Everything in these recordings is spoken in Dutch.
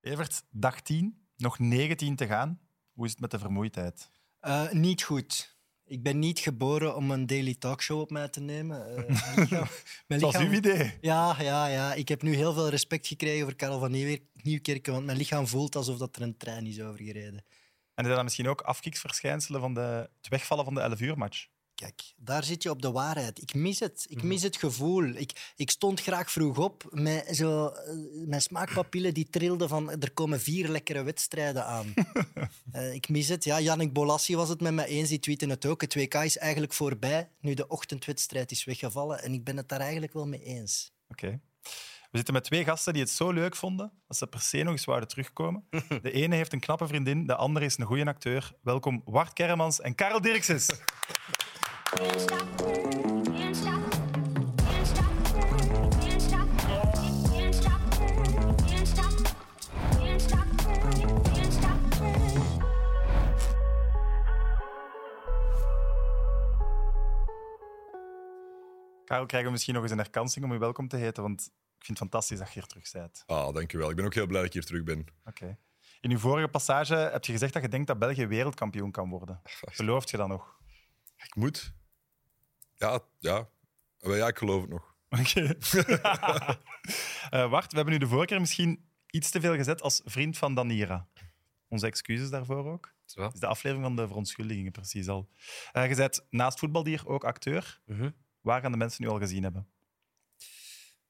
Evert, dag 10, nog 19 te gaan. Hoe is het met de vermoeidheid? Eh, niet goed. Ik ben niet geboren om een daily talkshow op mij te nemen. Eh, mijn lichaam- Dat mijn was lichaam- uw idee. Ja, ja, ja. Ik heb nu heel veel respect gekregen voor Karel van Nieuwker- Nieuwkerken, want mijn lichaam voelt alsof dat er een trein is overgereden. En zijn dat misschien ook afkiksverschijnselen van de, het wegvallen van de 11 uur match? Kijk, daar zit je op de waarheid. Ik mis het. Ik mis het gevoel. Ik, ik stond graag vroeg op. Mijn, zo, eh, mijn smaakpapillen die trilden van er komen vier lekkere wedstrijden aan. Eh, ik mis het. Ja, Jannik Bolassi was het met mij eens. Die tweette het ook. Het WK is eigenlijk voorbij. Nu de ochtendwedstrijd is weggevallen. En ik ben het daar eigenlijk wel mee eens. Oké. We zitten met twee gasten die het zo leuk vonden dat ze per se nog eens wouden terugkomen. De ene heeft een knappe vriendin, de andere is een goede acteur. Welkom Wart Kermans en Karel Dirkses. Can't stop, can't stop, can't stop, can't stop, can't stop, can't stop, can't stop, can't stop. Karel, krijgen we misschien nog eens een herkansing om u welkom te heten, want ik vind het fantastisch dat je hier terug bent. Ah, dankjewel. Ik ben ook heel blij dat ik hier terug ben. Oké. In uw vorige passage heb je gezegd dat je denkt dat België wereldkampioen kan worden. Gelooft je dat nog? Ik moet. Ja, ja. Maar ja, ik geloof het nog. Oké. Eh Wart, we hebben u de vorige keer misschien iets te veel gezet als vriend van Danira. Onze excuses daarvoor ook. Is wel. Het is de aflevering van de verontschuldigingen precies al. Eh, je bent naast voetbaldier ook acteur. Mhm. Waar gaan de mensen nu al gezien hebben?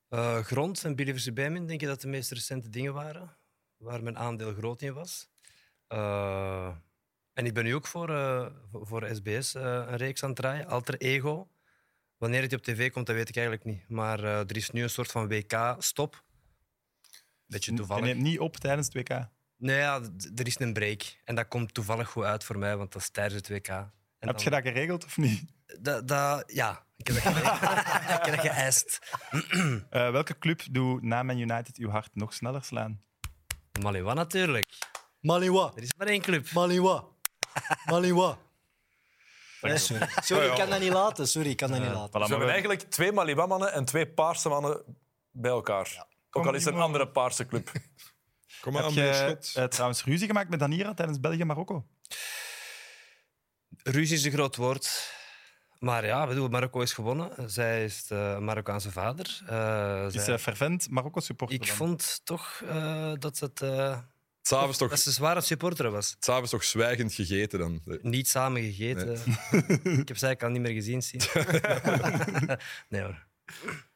Eh, grond en Billy vs. Bijmin denk ik dat de meest recente dingen waren. Waar mijn aandeel groot in was. Eh, en ik ben nu ook voor, eh, voor voor SBS eh, een reeks aan het draaien. Alter Ego. Wanneer het op tv komt, dat weet ik eigenlijk niet. Maar eh, er is nu een soort van WK-stop. Beetje Je toevallig. neemt niet op tijdens het WK. Nee, ja, d- er is een break. En dat komt toevallig goed uit voor mij, want dat is tijdens het WK. En Heb je dat geregeld of niet? dat? ja, ik heb dat geëist. ik heb dat geëist. Eh, welke club doet na Man United uw hart nog sneller slaan? Maliwa natuurlijk. Maliwa, Er is maar één club. Maliwa, Maliwa. Nee, Eh, sorry, sorry ik kan dat niet laten. Sorry, ik kan dat niet laten. Voilà, Ze hebben maar we- eigenlijk twee Maliba-mannen en twee Paarse mannen bij elkaar. Ook al is er een andere Paarse club. Kom Heb aan, je meneer Schot. eh, trouwens ruzie gemaakt met Danira tijdens België-Marokko? Ruzie is een groot woord. Maar ja, bedoel, Marokko is gewonnen. Zij is de Marokkaanse vader. Eh, Is zij- eh, fervent Marokko-supporter ik dan? vond toch eh, dat, het, eh, S'avonds toch, dat ze zware supporter was. s'avonds toch zwijgend gegeten dan. Niet samen gegeten. ik heb ze eigenlijk al niet meer gezien zien. nee hoor.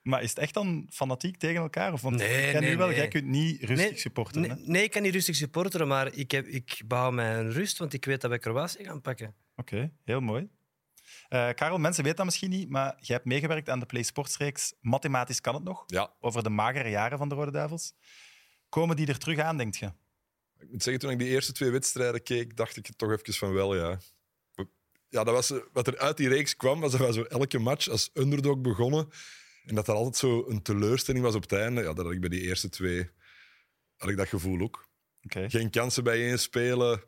Maar is het echt dan fanatiek tegen elkaar? Of, want Nee, ik ken nee, u wel, nee. jij kunt niet rustig supporten. nee, hè? nee, ik kan niet rustig supporteren, maar ik, heb, ik behoud mijn rust, want ik weet dat wij Kroatië gaan pakken. Oké, heel mooi. Eh, Karel, mensen weten dat misschien niet, maar jij hebt meegewerkt aan de Play Sportsreeks Mathematisch kan het nog, Ja, over de magere jaren van de Rode Duivels. Komen die er terug aan, denk je? ik moet zeggen, toen ik die eerste twee wedstrijden keek, dacht ik het toch even van wel, ja. Ja, dat was, eh, wat er uit die reeks kwam, was dat we zo elke match als underdog begonnen. En dat er altijd zo een teleurstelling was op het einde. Ja, dat had ik bij die eerste twee, had ik dat gevoel ook. Oké. geen kansen bijeen spelen.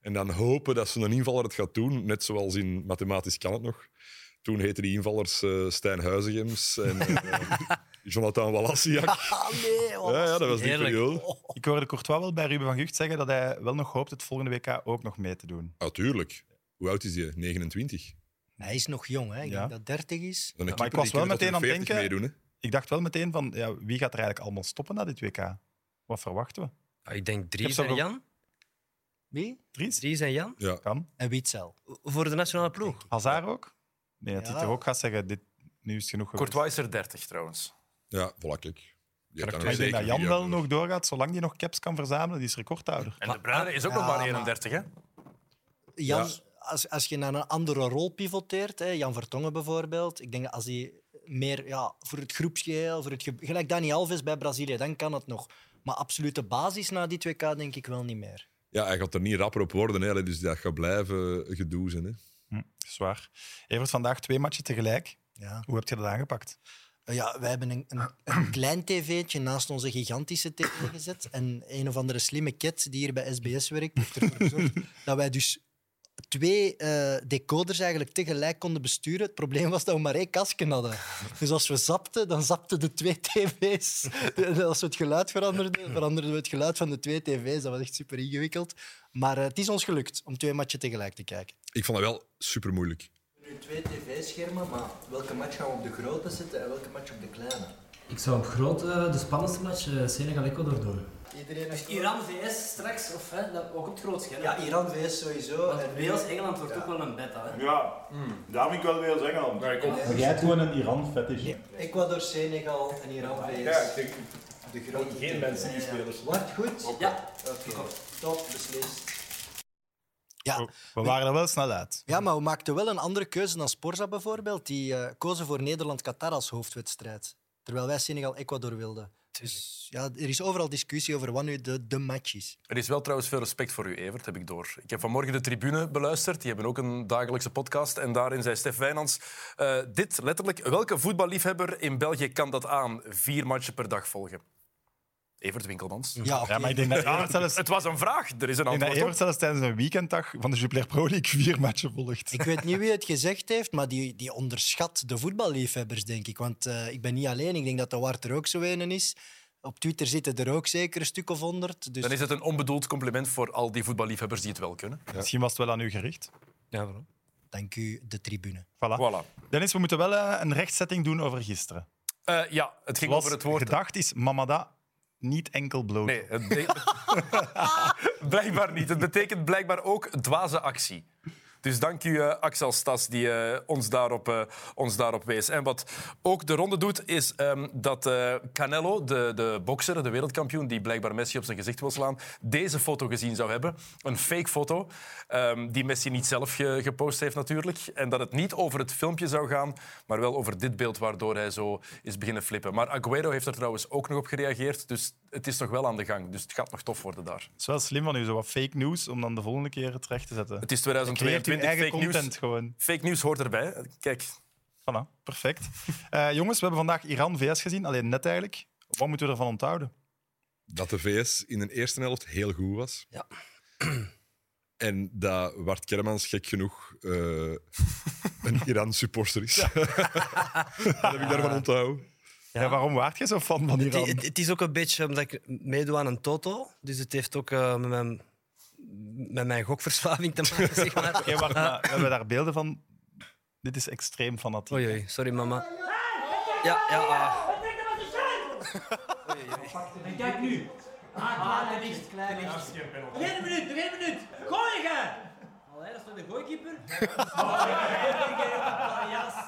En dan hopen dat zo'n invaller het gaat doen. Net zoals in Mathematisch kan het nog. Toen heten die invallers eh, Stijn Huizigems en eh, Jonathan Walassiak. Ah, nee, Ja, ja, dat was die Heerlijk. periode. Ik hoorde Courtois wel bij Ruben van Gucht zeggen dat hij wel nog hoopt het volgende WK ook nog mee te doen. Natuurlijk. Ah, Hoe oud is die? 29. Hij is nog jong, hè? Ik Ja. denk dat 30 is. Dan een maar ik keeper was die wel kunnen tot meteen aan hun het 40 denken- Meedoen, hè. Ik dacht wel meteen van, ja, wie gaat er eigenlijk allemaal stoppen na dit WK? Wat verwachten we? Ah, ik denk Ik Dries heb en zelf ook- Jan. Wie? Dries? Dries en Jan? Ja. Kan. En Wietzel. Voor de nationale ploeg. Hazard ook? Nee, dat hij Ja. toch ook gaat zeggen, dit, nu is het genoeg geweest. Courtois is er 30 trouwens. ja, voilà, kijk. Die had dan Maar nog ik denk zeker dat Jan vier wel jaar nog doorgaat, zolang die nog caps kan verzamelen. Die is recordhouder. En De Bruyne is ook Ja, nog maar maar- 31, hè? Jan, Ja. als, als je naar een andere rol pivoteert, hè, Jan Vertongen bijvoorbeeld, ik denk dat als hij meer ja, voor het groepsgeheel, voor het ge- gelijk Dani Alves bij Brazilië, dan kan het nog. Maar absolute basis na die 2K denk ik wel niet meer. Ja, hij gaat er niet rapper op worden. Hè. Dus dat gaat blijven gedoe zijn. Hè. Zwaar. Evert, vandaag twee matchen tegelijk. Ja. Hoe heb je dat aangepakt? Ja, wij hebben een, een, een klein tv'tje naast onze gigantische tv gezet. En een of andere slimme cat die hier bij SBS werkt, heeft ervoor gezorgd dat wij dus twee eh, decoders eigenlijk tegelijk konden besturen. Het probleem was dat we maar één kasken hadden. Dus als we zapten, dan zapten de twee tv's. En als we het geluid veranderden, veranderden we het geluid van de twee tv's. Dat was echt super ingewikkeld. Maar eh, het is ons gelukt om twee matchen tegelijk te kijken. Ik vond dat wel super moeilijk. Nu twee tv-schermen, maar welke match gaan we op de grote zetten en welke match op de kleine? Ik zou op groot eh, de spannendste match eh, Senegal-Ecuador doen. Iedereen heeft... Iran-VS straks, of hè, dat, ook op het groot scherm. Ja, Iran VS sowieso. Want Wales-Engeland wordt ook wel een beta. Hè. Ja, daar vind ik wel weer zeggen dan. Maar jij hebt gewoon een Iran-fetish. Ecuador, Senegal en Iran VS. Ja, ik denk de grote geen mensen die spelers. Wordt goed? Ja, Oké. Top, beslist. Ja. We waren er wel snel uit. ja, maar we maakten wel een andere keuze dan Sporza bijvoorbeeld. Die eh, kozen voor Nederland-Qatar als hoofdwedstrijd. Terwijl wij Senegal-Ecuador wilden. Dus ja, er is overal discussie over wat nu de, de match is. Er is wel trouwens veel respect voor u, Evert, heb ik door. Ik heb vanmorgen de tribune beluisterd. Die hebben ook een dagelijkse podcast. En daarin zei Stef Wijnands eh, dit letterlijk. Welke voetballiefhebber in België kan dat aan? Vier matchen per dag volgen. Evert Winkelmans. Ja, oké. Ja, maar ik denk dat Evert zelfs, ik Het was een vraag. Er is een denk dat antwoord Evert op. zelfs tijdens een weekenddag van de Jupiler Pro League vier matchen volgt. Ik weet niet wie het gezegd heeft, maar die, die onderschat de voetballiefhebbers, denk ik. Want eh, ik ben niet alleen. Ik denk dat de Wart er ook zo een is. Op Twitter zitten er ook zeker een stuk of honderd. Dus Dan is het een onbedoeld compliment voor al die voetballiefhebbers die het wel kunnen. Misschien was het wel aan u gericht. Ja, waarom? dank u, de tribune. Voilà. Voilà. Dennis, we moeten wel eh, een rechtzetting doen over gisteren. Eh, ja, het ging Zoals over het woord... gedacht is Mamada niet enkel bloot. Nee, het be- blijkbaar niet. Het betekent blijkbaar ook dwaze actie. Dus dank u, eh, Axel Stas, die eh, ons, daarop, eh, ons daarop wees. En wat ook de ronde doet, is ehm, dat eh, Canelo, de, de bokser, de wereldkampioen, die blijkbaar Messi op zijn gezicht wil slaan, deze foto gezien zou hebben. Een fake foto, ehm, die Messi niet zelf ge- gepost heeft natuurlijk. En dat het niet over het filmpje zou gaan, maar wel over dit beeld waardoor hij zo is beginnen flippen. Maar Aguero heeft er trouwens ook nog op gereageerd, dus het is nog wel aan de gang. Dus het gaat nog tof worden daar. Het is wel slim van u, zo wat fake news, om dan de volgende keer het recht te zetten. Het is Creëert uw 2022, eigen fake content nieuws. gewoon. Fake nieuws hoort erbij. Kijk, Voilà, perfect. Eh, jongens, we hebben vandaag Iran-VS gezien, alleen net eigenlijk. Wat moeten we ervan onthouden? Dat de VS in de eerste helft heel goed was. Ja. En dat Wart Kermans gek genoeg eh, een Iran-supporter is. dat heb ik daarvan onthouden. Ja. waarom waart jij zo fan van Het, Iran? het- het is ook een beetje omdat ik meedoe aan een toto. Dus het heeft ook eh, met, mijn, met mijn gokverslaving te maken. Zeg maar. Oké, wacht, maar we hebben daar beelden van. Dit is extreem fanatiek. Oei, oei, sorry mama. Ja, ja. ah. En kijk nu. Ah, klaar, te licht. Nog één minuut, nog één minuut. Gooi je! Allee, dat is toch de gooikeeper? Oh, jas.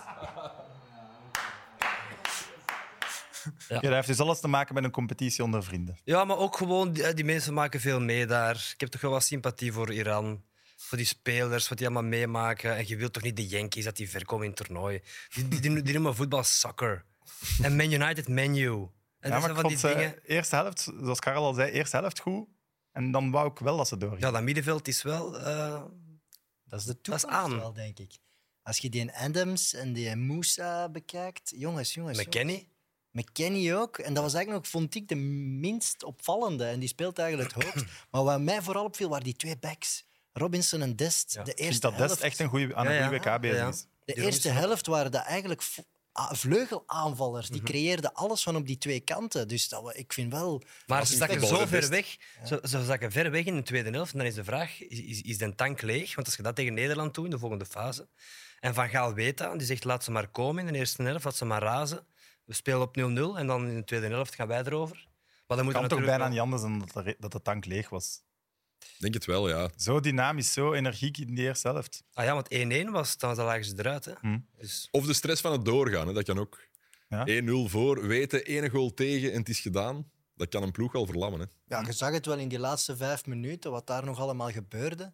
Ja, dat heeft dus alles te maken met een competitie onder vrienden. Ja, maar ook gewoon, die, eh, die mensen maken veel mee daar. Ik heb toch wel wat sympathie voor Iran. Voor die spelers, wat die allemaal meemaken. En je wilt toch niet de Yankees dat die ver komen in het toernooi. Die, die, die, die noemen voetbal soccer. En Man United menu. En Ja, maar dat zijn ik van die vond eh, dingen. eerste helft, zoals Karel al zei, eerste helft goed. En dan wou ik wel dat ze doorgingen. Ja, dat middenveld is wel. eh, Dat is de Dat is toekomst aan. wel, denk ik. Als je die Adams en die Moussa bekijkt... Jongens, jongens. McKennie. jongens. McKennie ook. En dat was eigenlijk nog, vond ik, de minst opvallende. En die speelt eigenlijk het hoogst. maar wat mij vooral opviel, waren die twee backs. Robinson en Dest. de Ik vind eerste dat Dest helft, echt een goede, aan Ja, een ja. goede WK bezig Ja, ja. is. de eerste helft waren dat eigenlijk v- a- vleugelaanvallers. Mhm. Die creëerden alles van op die twee kanten. Dus dat, we- ik vind wel... Maar ze is zakken voetbal, zo hè, ver best. weg. Ze, ze zakken ver weg in de tweede helft. En dan is de vraag: is, is, is de tank leeg? Want als je dat tegen Nederland doet in de volgende fase. En Van Gaal weet dat. Die zegt: laat ze maar komen in de eerste helft, laat ze maar razen. We spelen op 0-0 en dan in de tweede helft gaan wij erover. Maar dan moet kan toch bijna niet anders dan dat de, re- dat de tank leeg was. Ik Denk het wel, ja. Zo dynamisch, zo energiek in de eerste helft. Ah ja, want 1-1 was, dan dan lagen ze eruit. Hè. Hm. Dus, Of de stress van het doorgaan, hè, dat kan ook. Ja. 1-0 voor, weten, één goal tegen en het is gedaan. Dat kan een ploeg al verlammen. Hè. Ja, je zag het wel in die laatste vijf minuten, wat daar nog allemaal gebeurde.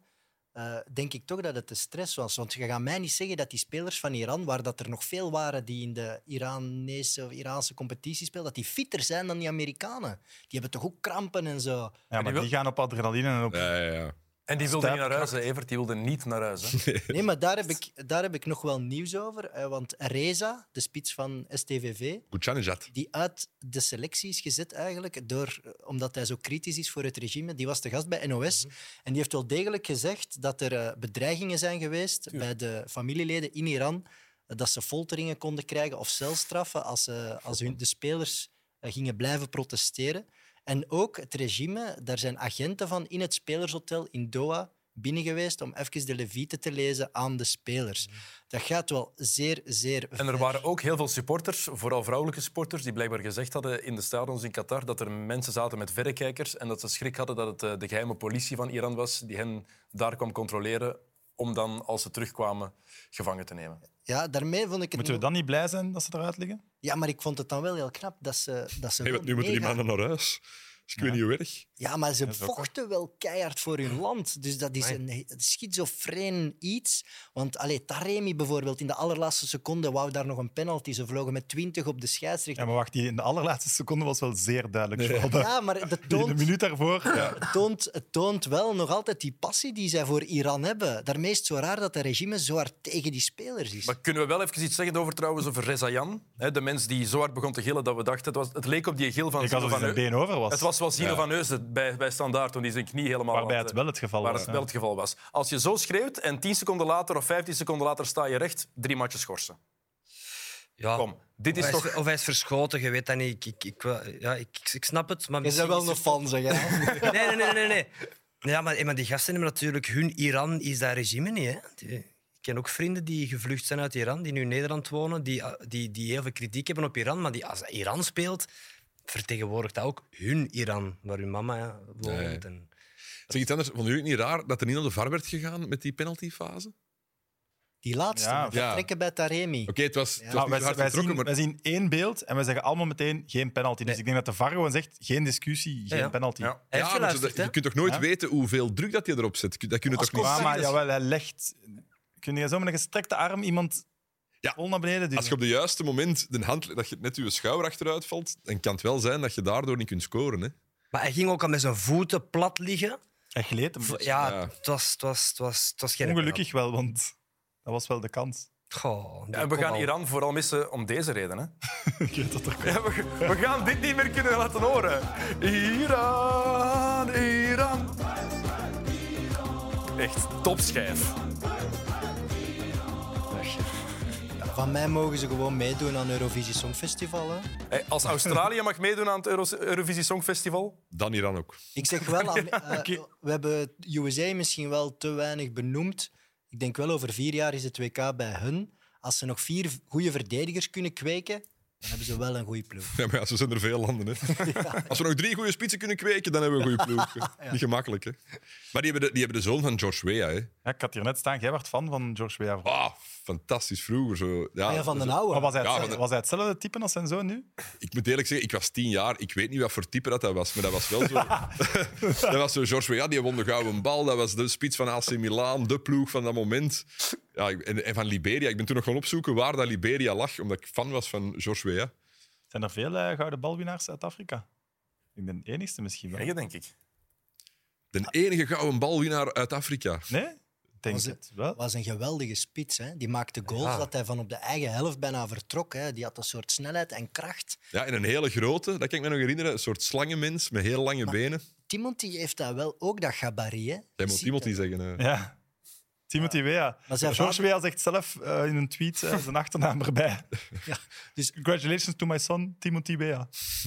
Eh, denk ik toch dat het de stress was. Want je gaat mij niet zeggen dat die spelers van Iran, waar dat er nog veel waren die in de Iranese of Iraanse competitie spelen, dat die fitter zijn dan die Amerikanen. Die hebben toch ook krampen en zo. Ja, maar die gaan op adrenaline en op... Ja, ja, ja. En die wilde niet naar Stuipkracht. huis, hè, Evert. Die wilde niet naar huis. Hè. Nee, maar daar heb, ik, daar heb ik nog wel nieuws over. eh, want Reza, de spits van STVV, Gucanijat. die uit de selectie is gezet eigenlijk, door, omdat hij zo kritisch is voor het regime. Die was te gast bij NOS Mhm. en die heeft wel degelijk gezegd dat er eh, bedreigingen zijn geweest bij de familieleden in Iran, eh, dat ze folteringen konden krijgen of celstraffen als, ze- als hun, de spelers eh, gingen blijven protesteren. En ook het regime, daar zijn agenten van in het spelershotel in Doha binnen geweest om even de levieten te lezen aan de spelers. Dat gaat wel zeer, zeer Mhm. En er ver. waren ook heel veel supporters, vooral vrouwelijke supporters, die blijkbaar gezegd hadden in de stadions in Qatar dat er mensen zaten met verrekijkers en dat ze schrik hadden dat het eh, de geheime politie van Iran was die hen daar kwam controleren om dan, als ze terugkwamen, gevangen te nemen. Ja, daarmee vond ik het Moeten we nog- dan niet blij zijn dat ze eruit liggen? Ja, maar ik vond het dan wel heel knap dat ze. Dat ze Nee, gewoon want nu moeten die meegaan. mannen naar huis. Dus ik weet niet hoe erg. Ja, maar ze Dat is ook vochten wel keihard voor hun land. Dus dat is Amai. een he- schizofreen iets. Want allee, Taremi bijvoorbeeld, in de allerlaatste seconde wou daar nog een penalty. Ze vlogen met 20 op de Ja, scheidsrechter. maar wacht, die in de allerlaatste seconde was wel zeer duidelijk. vooral dat- Ja, maar dat die in de toont, minuut daarvoor. Ja. het toont, het toont wel nog altijd die passie die zij voor Iran hebben. Daarmee is het zo raar dat het regime zo hard tegen die spelers is. Maar kunnen we wel even iets zeggen over, trouwens, over Reza Jan? Hè, de mens die zo hard begon te gillen dat we dachten... Het, was, het leek op die gil van Ik had Zino alsof van zijn Heu- been over was. Het was wel Zino van Heusden bij, bij Standaard, toen hij zijn knie helemaal... eh, Waarbij aan het wel het geval waar was. het wel het geval was. Als je zo schreeuwt en 10 seconden later of 15 seconden later sta je recht, drie matjes schorsen. Ja. Kom, dit Of is hij toch... is, of hij is verschoten, je weet dat niet. Ik, ik, ik, wel- ja, ik, ik- ik snap het. Maar Je bent misschien wel is een er- fan, zeg hè? Nee, nee, nee, nee. nee. Ja, maar, maar die gasten hebben natuurlijk hun Iran is dat regime niet. Hè? Die- ik ken ook vrienden die gevlucht zijn uit Iran, die nu in Nederland wonen, die, ah, die, die heel veel kritiek hebben op Iran. Maar die, als Iran speelt, vertegenwoordigt dat ook hun Iran, waar hun mama ja, woont. Nee. En, Zeg iets anders, vonden jullie het niet raar dat er niet naar de VAR werd gegaan met die penaltyfase? Die laatste, Ja. met dat Ja. trekken bij Taremi. Oké, het was, het Maar was niet wij, zo hard wij getrokken, zien, maar wij zien één beeld en we zeggen allemaal meteen geen penalty. Dus ik denk dat de VAR gewoon zegt geen discussie, geen ja. penalty. Ja. hij heeft Ja, maar geluisterd, zo- hè? je kunt toch nooit Ja. weten hoeveel druk dat je erop zet? Dat kun je toch niet Ja, zien? maar jawel, hij legt... Kun je zo met een gestrekte arm iemand Ja. vol naar beneden duwen? Als je op het juiste moment de hand, dat je net je schouder achteruit valt, dan kan het wel zijn dat je daardoor niet kunt scoren. Hè? Maar hij ging ook al met zijn voeten plat liggen. Hij gleed hem. V- Ja, Ja. Het, was, het, was, het, was, het was geen Ongelukkig wel, want dat was wel de kans. penalty. Goh, En we kom gaan al. Iran vooral missen om deze reden. Hè? Ik weet dat er komt. Ja, we, we gaan dit niet meer kunnen laten horen. Iran, Iran. Echt topschijf. Van mij mogen ze gewoon meedoen aan Eurovisie Songfestival. Hè. Hey, als Australië mag meedoen aan het Euro- Eurovisie Songfestival, Dan Iran ook. Ik zeg wel, aan- eh, we hebben USA misschien wel te weinig benoemd. Ik denk wel over vier jaar is het WK bij hun. Als ze nog vier goede verdedigers kunnen kweken, dan hebben ze wel een goede ploeg. Ja, maar ja, zo zijn er veel landen. Hè. Als we nog drie goede spitsen kunnen kweken, dan hebben we een goede ploeg. hè. Niet gemakkelijk. Hè? Maar die hebben, de, die hebben de zoon van George Weah. Hè? Ja, ik had hier net staan, jij werd fan van George Weah. Ah, fantastisch vroeger. Zo. Ja, Ah ja, van dat den is- Maar oude. was hij, Ja, hetzelfde- maar dat- was hij hetzelfde type als zijn zoon nu? Ik moet eerlijk zeggen, ik was tien jaar. Ik weet niet wat voor type dat, dat was, maar dat was wel zo. dat was zo George Weah, die won de gouden bal. Dat was de spits van AC Milan, de ploeg van dat moment. Ja, ik- en, en van Liberia. Ik ben toen nog gaan opzoeken waar dat Liberia lag, omdat ik fan was van George Weah. Zijn er veel eh, gouden balwinnaars uit Afrika? Ik ben de enigste misschien wel. krijg je, denk ik. De enige gouden balwinnaar uit Afrika. Nee? Ik denk Was het- het wel. was een geweldige spits. Hè. Die maakte goals dat hij van op de eigen helft bijna vertrok. Hè. Die had een soort snelheid en kracht. Ja, en een hele grote, dat kan ik me nog herinneren. Een soort slangenmens met heel Ah, lange benen. Timothy heeft dat wel, ook dat gabarit. Hè. Jij moet Ziet iemand die dat. zeggen. eh, Ja. Timothy Weah. Maar zijn George vader- Weah zegt zelf eh, in een tweet eh, zijn achternaam erbij. Ja, dus- Congratulations to my son, Timothy Weah.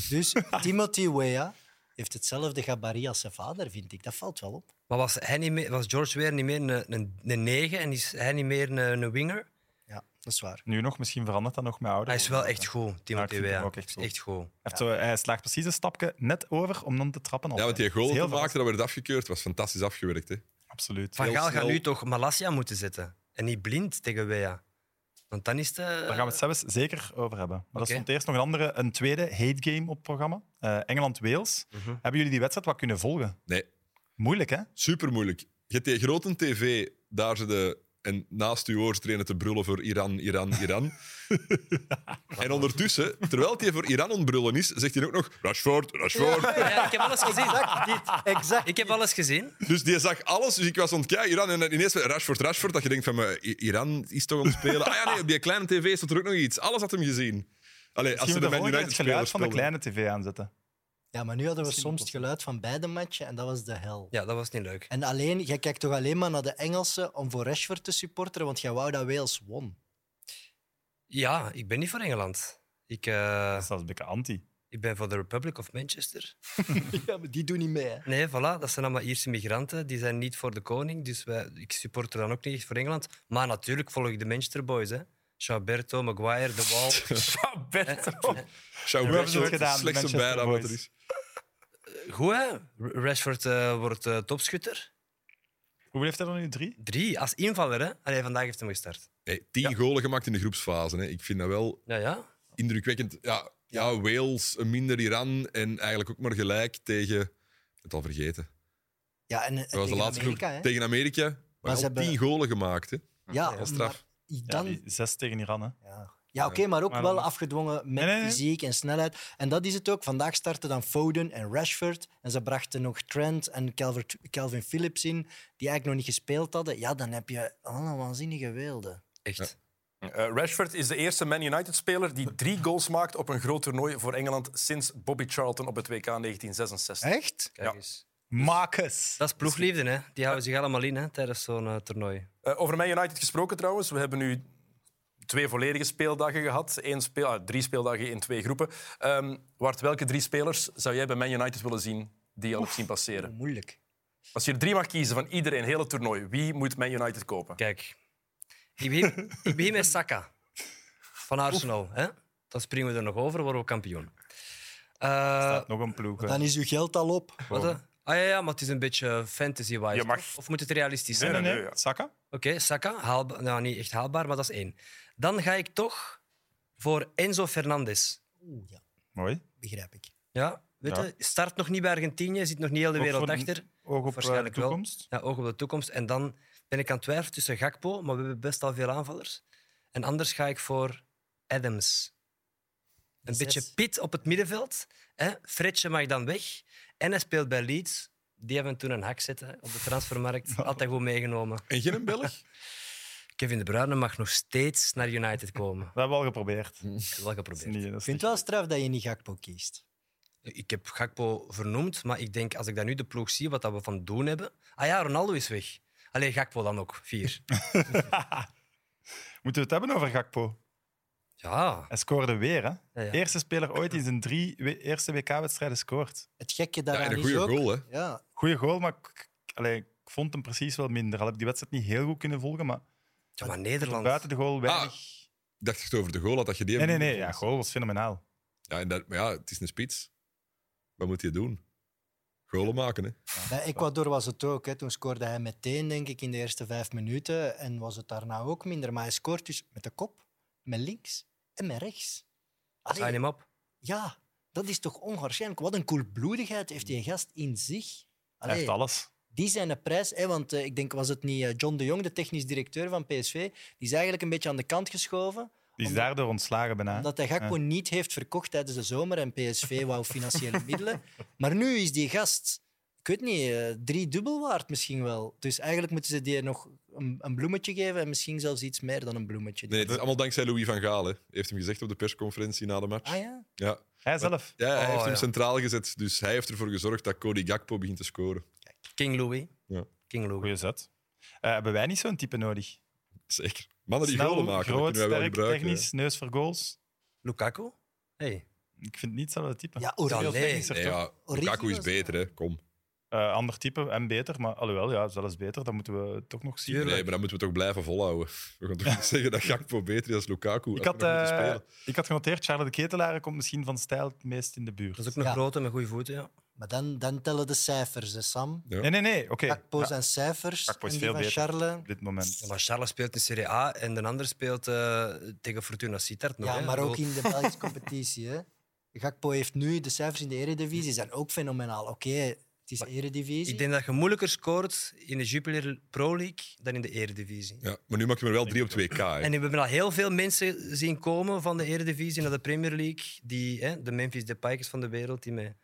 Dus Timothy Weah heeft hetzelfde gabarit als zijn vader, vind ik. Dat valt wel op. Maar was, hij niet meer, was George weer niet meer een, een, een negen en is hij niet meer een, een winger? Ja, dat is waar. Nu nog, misschien verandert dat nog met ouder. Hij is wel echt goed, Ja, ik Timothy vind hem Weah. ook echt Is goed. Echt goed. Hij, heeft zo, hij slaagt precies een stapje net over om dan te trappen. Ja, want die goal Dat dat is hij heel maakte, dat werd afgekeurd. was fantastisch afgewerkt. Hè. Absoluut. Van Heel Gaal gaat snel. nu toch Malasia moeten zetten. En niet blind tegen Weah. Want dan is eh, de... Daar gaan we het zelfs zeker over hebben. Maar Oké. er stond eerst nog een andere, een tweede hate game op het programma. Eh, Engeland-Wales. Hebben jullie die wedstrijd wat kunnen volgen? Nee, Moeilijk, hè? super moeilijk. Je hebt die grote tv, daar ze de En naast uw oor trainen te brullen voor Iran, Iran, Iran. en ondertussen, terwijl hij voor Iran aan het brullen is, zegt hij ook nog Rashford, Rashford. Ja, ik heb alles gezien. Exact dit. Exact. Ik heb alles gezien. Dus die zag alles. Dus ik was aan het kijken, Iran. En dan ineens Rashford, Rashford. Dat je denkt van, maar I- Iran is toch aan het spelen? Ah ja, nee, op die kleine tv stond er ook nog iets. Alles had hem gezien. Allee, als Misschien ze moet de de Man volgende keer United het geluid spelers van de speelden. kleine tv aanzetten. Ja, maar nu hadden we soms het geluid van beide matchen en dat was de hel. Ja, dat was niet leuk. En alleen, jij kijkt toch alleen maar naar de Engelsen om voor Rashford te supporteren, want jij wou dat Wales won. Ja, ik ben niet voor Engeland. Ik, eh, Dat is zelfs een beetje anti. ik ben voor de Republic of Manchester. Ja, maar die doen niet mee. hè. Nee, voilà, dat zijn allemaal Ierse migranten. Die zijn niet voor de koning, dus wij, ik supporter dan ook niet echt voor Engeland. Maar natuurlijk volg ik de Manchester Boys, hè. Chauberto, Maguire, De Wall. Roberto. Zou hebben ze Rashford het gedaan, slechts een Manchester bijnaam wat er Boys. is. Goed, hè? R- Rashford eh, wordt eh, topschutter. Hoeveel heeft hij er nu? Drie? Drie, als invaller, hè. Allee, vandaag heeft hem gestart. Hey, tien golen gemaakt in de groepsfase. Hè. Ik vind dat wel Ja, ja. indrukwekkend. Ja, ja, Wales, een minder Iran. En eigenlijk ook maar gelijk tegen... Ik heb het al vergeten. Ja, en, en Dat was de tegen laatste Amerika, groep. hè. Tegen Amerika. Maar, Maar ze al hebben- tien golen gemaakt. Hè. Ja, Dat is maar straf. Ja, dan... die zes tegen Iran. Hè. Ja, ja oké, maar ook Maar wel dan- afgedwongen met Nee, nee, nee. fysiek en snelheid. En dat is het ook. Vandaag starten dan Foden en Rashford. En ze brachten nog Trent en Calvert- Calvin Phillips in, die eigenlijk nog niet gespeeld hadden. Ja, dan heb je allemaal waanzinnige weelden. Echt. Eh, Rashford is de eerste Man United-speler die drie goals maakt op een groot toernooi voor Engeland sinds Bobby Charlton op het WK 1966. Echt? Kijk Ja. eens. Marcus! Dat is ploegliefde, hè. Die houden zich allemaal in, hè, tijdens zo'n eh, toernooi. Eh, over Man United gesproken trouwens. We hebben nu twee volledige speeldagen gehad. Eén speel, ah, drie speeldagen in twee groepen. Ehm Wart, welke drie spelers zou jij bij Man United willen zien die je al hebt zien passeren? Moeilijk. Als je er drie mag kiezen van iedereen, hele toernooi, wie moet Man United kopen? Kijk, ik begin, ik begin met Saka van Arsenal. Hè? Dan springen we er nog over, worden we kampioen. Eh, Staat nog een ploeg. hè. Dan is uw geld al op. wat, eh? ah ja, ja, maar het is een beetje fantasy-wise. Je mag- toch? Of moet het realistisch zijn? Nee, nee, nee, nee. ja. Saka? Oké, Saka, haalba- nou, niet echt haalbaar, maar dat is één. Dan ga ik toch voor Enzo Fernandes. Oeh, ja, Mooi. begrijp ik. Ja, weet Ja. je, start nog niet bij Argentinië, zit nog niet heel de Ook wereld voor de- achter. Oog op eh, de Waarschijnlijk wel. toekomst. Ja, oog op de toekomst. En dan ben ik aan het twijfelen tussen Gakpo, maar we hebben best al veel aanvallers. En anders ga ik voor Adams. Een Zes. beetje pit op het middenveld. Hè? Fredje mag dan weg. En hij speelt bij Leeds. Die hebben toen een hak zitten op de transfermarkt. Altijd goed meegenomen. En geen een Belg? Kevin De Bruyne mag nog steeds naar United komen. Dat hebben we al geprobeerd. Dat Ik heb wel is geprobeerd. niet, dat Ik is niet- vind het wel straf dat je niet Gakpo kiest. Ik heb Gakpo vernoemd, maar ik denk als ik dan nu de ploeg zie, wat dat we van doen hebben. Ah ja, Ronaldo is weg. Alleen Gakpo dan ook, vier. Moeten we het hebben over Gakpo? Ja, Hij scoorde weer, hè? ja. Eerste speler ooit die in zijn drie we- eerste WK-wedstrijden scoort. Het gekke Ja, en daaraan een is goede ook... goal, hè. Ja, Goeie goal, maar ik, allee, ik vond hem precies wel minder. Al heb ik die wedstrijd niet heel goed kunnen volgen, maar Ja, maar Nederland. buiten de goal weinig. Ah, ik dacht dat je het over de goal had, dat je die nee, nee, hem- nee. Ja, goal was fenomenaal. Ja, en dat, maar ja, het is een spits. Wat moet je doen? Golen maken, hè? bij Ecuador was het ook. Hè. Toen scoorde hij meteen, denk ik, in de eerste vijf minuten. En was het daarna ook minder. Maar hij scoort dus met de kop, met links en met rechts. Allee, Sign hem op. Ja, dat is toch onwaarschijnlijk. Wat een koelbloedigheid heeft die gast in zich. Hij Allee, heeft alles. die zijn de prijs, hè, want eh, ik denk, was het niet eh, John de Jong, de technisch directeur van PSV, die is eigenlijk een beetje aan de kant geschoven, Die is Omdat- daardoor ontslagen bijna. omdat hij Gakpo niet heeft verkocht tijdens de zomer en PSV wou financiële middelen. Maar nu is die gast, ik weet niet, eh, drie dubbel waard misschien wel. Dus eigenlijk moeten ze die nog een, een bloemetje geven en misschien zelfs iets meer dan een bloemetje. Nee, het is allemaal dankzij Louis van Gaal, hè. Hij heeft hem gezegd op de persconferentie na de match. Ah ja? Ja, Hij zelf. ja hij Oh, heeft hem ja. centraal gezet, dus hij heeft ervoor gezorgd dat Cody Gakpo begint te scoren. King Louis. Ja. King Louis. Goeie zet. Eh, hebben wij niet zo'n type nodig? Zeker. Mannen die Snel, golen maken, dat groot, kunnen wij wel sterk, gebruiken. technisch, neus voor goals. Lukaku? Hey. Ik vind het niet hetzelfde type. Ja, Veel Oranje. nee. technischer, hè. Nee, toch? ja, Origi Lukaku is was- beter, hè. Kom. Eh, ander type en beter, maar alhoewel, ja, zelfs beter. Dat moeten we toch nog zien. Nee, maar dan moeten we toch blijven volhouden. We gaan toch niet zeggen dat Gakpo beter is als Lukaku. Ik als had, we nog moeten eh, spelen. ik had genoteerd, Charles de Ketelaren komt misschien van stijl het meest in de buurt. Dat is ook een Ja. grote met goede voeten. Ja. Maar dan, dan tellen de cijfers, hè, Sam. Nee, nee, nee. Oké, Gakpo Ja, zijn cijfers Gakpo en is die veel van beter. Charles. op dit moment. Ja, Maar Charles speelt in Serie A en de ander speelt eh, tegen Fortuna Sittard. nog, Ja, hè. maar ook bedoel, in de Belgische competitie. Hè. Gakpo heeft nu de cijfers in de Eredivisie zijn ook fenomenaal. Oké, het is eredivisie. Ik denk dat je moeilijker scoort in de Jupiler Pro League dan in de Eredivisie. Ja, maar nu maak je er wel drie op 2K. hè. En we hebben al heel veel mensen zien komen van de Eredivisie naar de Premier League. Die, hè, de Memphis Depay's van de wereld, die met,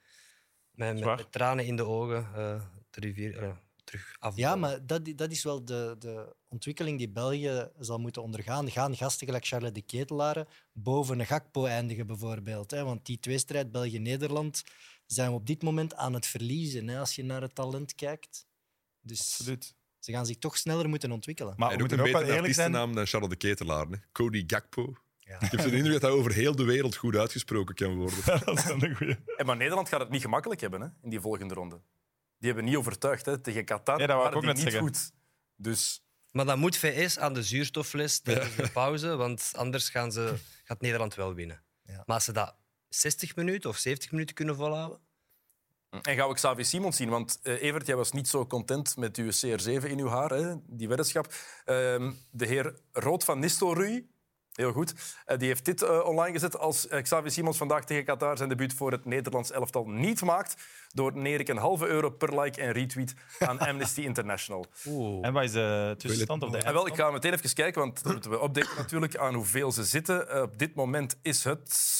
met, met, waar. met tranen in de ogen eh, de rivier eh, terug af. Ja, maar dat, i- dat is wel de, de ontwikkeling die België zal moeten ondergaan. Gaan gasten gelijk Charles de Ketelaren boven een Gakpo eindigen, bijvoorbeeld. Hè? Want die tweestrijd België-Nederland zijn we op dit moment aan het verliezen, hè? als je naar het talent kijkt. Dus Absoluut. ze gaan zich toch sneller moeten ontwikkelen. Maar Hij we doet moeten een ook wel betere eerlijk zijn. artiestennaam dan Charles de Ketelaar. Hè? Cody Gakpo. Ik heb zo de indruk dat hij over heel de wereld goed uitgesproken kan worden. dat is wel een goeie. En maar Nederland gaat het niet gemakkelijk hebben hè, in die volgende ronde. Die hebben niet overtuigd hè. tegen Qatar. Ja, dat wou ik waren ook die net niet zeggen. goed. Dus Maar dan moet VS aan de zuurstoffles tijdens de pauze, want anders gaan ze, gaat Nederland wel winnen. Ja. Maar als ze dat 60 minuten of 70 minuten kunnen volhouden, En gaan we Xavi Simons zien? Want eh, Evert, jij was niet zo content met uw CR7 in uw haar, hè? die weddenschap. Ehm, de heer Rood van Nistelrooy, heel goed, eh, die heeft dit eh, online gezet. Als eh, Xavi Simons vandaag tegen Qatar zijn debuut voor het Nederlands elftal niet maakt, doneer ik een halve euro per like en retweet aan Amnesty International. Oh. En wat is de tussenstand? Of de En ah, wel, ik ga meteen even kijken, want dan moeten we updaten natuurlijk aan hoeveel ze zitten. Eh, op dit moment is het...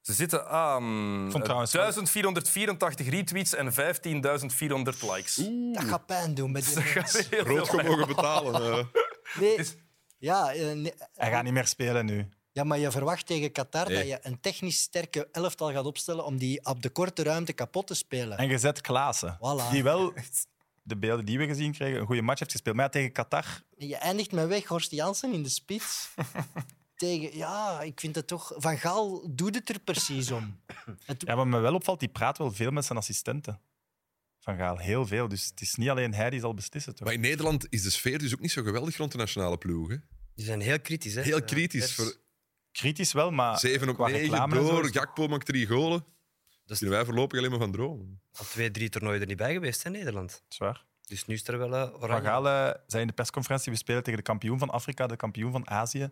Ze zitten aan vond trouwens wel- 1484 retweets en 15.400 likes. Dat gaat pijn doen bij die mensen. Rood mogen betalen. eh. Nee. Ja, eh, nee. Hij gaat niet meer spelen nu. ja, maar je verwacht tegen Qatar dat Nee. je een technisch sterke elftal gaat opstellen om die op de korte ruimte kapot te spelen. En gezet Klaassen. Voilà. Die wel, de beelden die we gezien kregen, een goede match heeft gespeeld. Maar ja, tegen Qatar, Je eindigt met weg Horst Jansen in de spits. Tegen, ja, ik vind het toch... Van Gaal doet het er precies om. Het, ja, wat me wel opvalt, die praat wel veel met zijn assistenten. Van Gaal, heel veel. Dus het is niet alleen hij die zal beslissen. Toch? Maar in Nederland is de sfeer dus ook niet zo geweldig rond de nationale ploeg. Hè? die zijn heel kritisch. Hè? Heel Eh, kritisch. pers. Voor Kritisch wel, maar 7 op ah, qua 9 reclame en zo door, is- Dus- Gakpo maakt drie golen. Dat is Kunnen wij voorlopig alleen maar van dromen. al twee, drie toernooien er niet bij geweest in Nederland. zwaar. Dus nu is er wel eh, Van oranje. Gaal eh, zei in de persconferentie, we spelen tegen de kampioen van Afrika, de kampioen van Azië.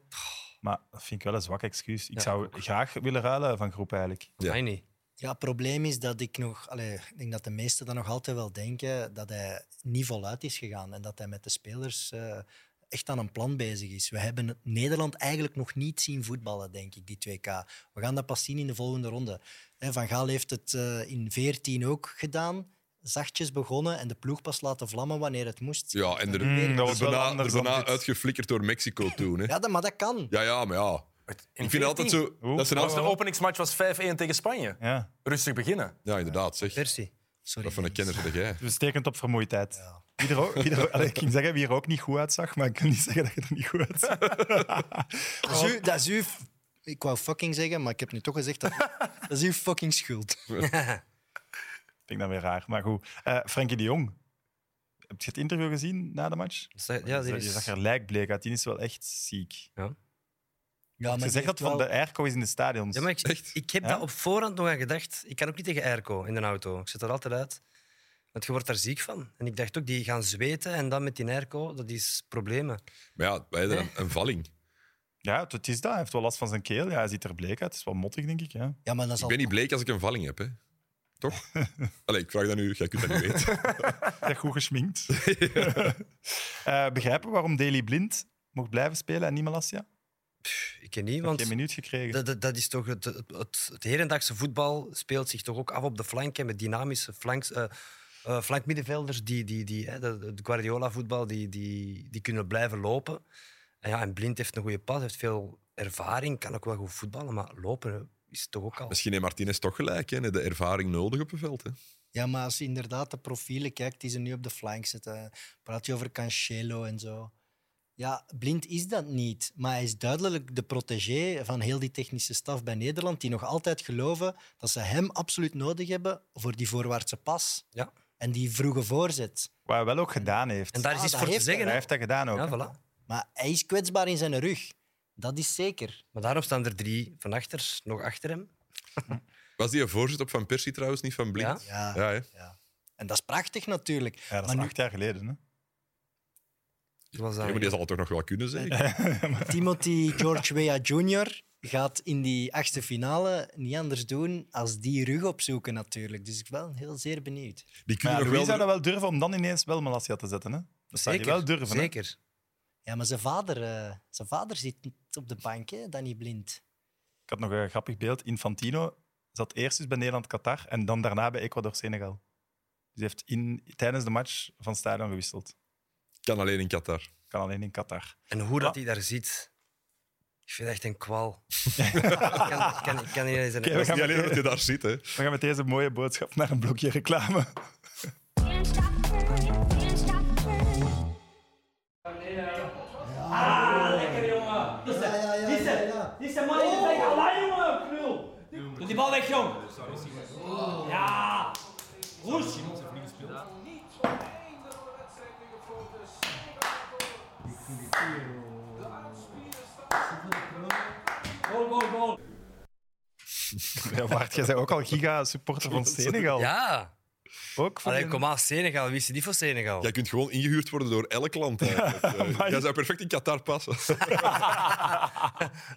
Maar dat vind ik wel een zwak excuus. Ik Ja, zou graag willen ruilen van groep eigenlijk. Ja. Mij niet. ja, het probleem is dat ik nog... Allee, ik denk dat de meesten dan nog altijd wel denken dat hij niet voluit is gegaan en dat hij met de spelers eh, echt aan een plan bezig is. We hebben Nederland eigenlijk nog niet zien voetballen, denk ik, die 2K. We gaan dat pas zien in de volgende ronde. Hè, Van Gaal heeft het eh, in 14 ook gedaan. Zachtjes begonnen en de ploeg pas laten vlammen wanneer het moest. Ja, en er, Mm, dat er was wel bijna, anders er dan bijna dit. uitgeflikkerd door Mexico toen. Hè? Ja, dat, maar dat kan. Ja, ja, maar ja. Ik vind altijd zo... Oeh. Dat zijn Als de altijd... openingsmatch was 5-1 tegen Spanje. Ja. Rustig beginnen. Ja, inderdaad, zeg. Persie. Sorry, Wat voor een mensen. kenner zeg jij? Dus stekend op vermoeidheid. Ja. Wie er ook, wie er ook- allee, ik ging zeggen wie er ook niet goed uitzag, maar ik kan niet zeggen dat je er niet goed uitzag. Dat is, uw, dat is uw... Ik wou fucking zeggen, maar ik heb nu toch gezegd dat... dat is uw fucking schuld. Vind ik dan weer raar. Maar goed, Eh Frenkie de Jong. Heb je het interview gezien na de match? Dat is- Ja, Die, die is... zag er lijkbleek uit. Die is wel echt ziek. Ja, Ze zegt dat van de airco is in de stadions. Ja, maar ik, Echt? ik heb Ja? daar op voorhand nog aan gedacht. Ik kan ook niet tegen airco in een auto. Ik zet er altijd uit. Want je wordt daar ziek van. En ik dacht ook, die gaan zweten en dan met die airco, dat is problemen. Maar ja, wij hebben een, een valling. Ja, het- het is dat. Hij heeft wel last van zijn keel. Ja, hij ziet er bleek uit. Het is wel mottig, denk ik. Ja. Ja, maar dat is Ik al... ben niet bleek als ik een valling heb, hè. Toch? Allee, ik vraag dat nu. Jij kunt dat niet weten. Hij is goed geschminkt. Eh, begrijpen waarom Daily Blind mocht blijven spelen en niet Malasia? Pff, Ik ken niet, Want... Geen want minuut gekregen. dat, dat, dat is toch het, het, het, het hedendaagse voetbal speelt zich toch ook af op de flanken met dynamische flanks, eh eh, flankmiddenvelders. Die, die, die, hè, dat- het Guardiola-voetbal, die, die, die kunnen blijven lopen. En, ja, en Blind heeft een goede pas, heeft veel ervaring, kan ook wel goed voetballen, maar lopen hè, is toch ook al... Misschien heeft Martinez toch gelijk, hè. De ervaring nodig op een veld, hè. Ja, maar als je inderdaad de profielen kijkt die ze nu op de flank zetten, praat je over Cancelo en zo. Ja, blind is dat niet. Maar hij is duidelijk de protégé van heel die technische staf bij Nederland, die nog altijd geloven dat ze hem absoluut nodig hebben voor die voorwaartse pas. Ja. En die vroege voorzet. Wat hij wel ook gedaan heeft. En daar is Ah, iets dat voor te heeft hij. zeggen. Hij hè. heeft dat gedaan ook. Ja, hè. voilà. Maar hij is kwetsbaar in zijn rug. Dat is zeker. Maar daarom staan er drie van achter, nog achter hem. Was die een voorzet op Van Persie trouwens, niet van Blind? Ja. Ja. Ja, hè. En dat is prachtig natuurlijk. Ja, dat is Maar nu- acht jaar geleden. Hè? Zoals Ja, dat- maar die zal het toch nog wel kunnen, zeggen. Timothy George Weah Jr. gaat in die achtste finale niet anders doen als die rug opzoeken natuurlijk. Dus ik ben wel heel zeer benieuwd. Die Maar kunnen ja, nog Louis wel... zou dat wel durven om dan ineens wel Malasia te zetten. Hè? Dat zou hij wel durven. hè. Zeker. Ja, maar zijn vader, eh, zijn vader zit niet op de bank, hè, Danny Blind. Ik had nog een grappig beeld. Infantino zat eerst dus bij Nederland-Qatar en dan daarna bij Ecuador-Senegal. Dus hij heeft in, tijdens de match van stadion gewisseld. Kan alleen in Qatar. Kan alleen in Qatar. En hoe dat hij daar zit. Ik vind dat echt een kwal. ik kan, ik kan, ik kan niet eens een... Oké, we Dat is gaan niet alleen met- dat je daar zit, hè. we gaan met deze mooie boodschap naar een blokje reclame. Can't stop burning, can't stop burning. Lekker, jongen. Die is er. Die is er. Die is er, man. Die is er. Allee, jongen. Knul. Doe die bal weg, jong. Oh. Ja. Roes. Goal, goal, goal. Ja, Bart, jij bent ook al giga-supporter van Senegal. Ja. Ook van Allee, de- kom aan, Senegal. Wie is die voor Senegal? Oh. Jij kunt gewoon ingehuurd worden door elk land. eigenlijk. Eh, Jij zou perfect in Qatar passen.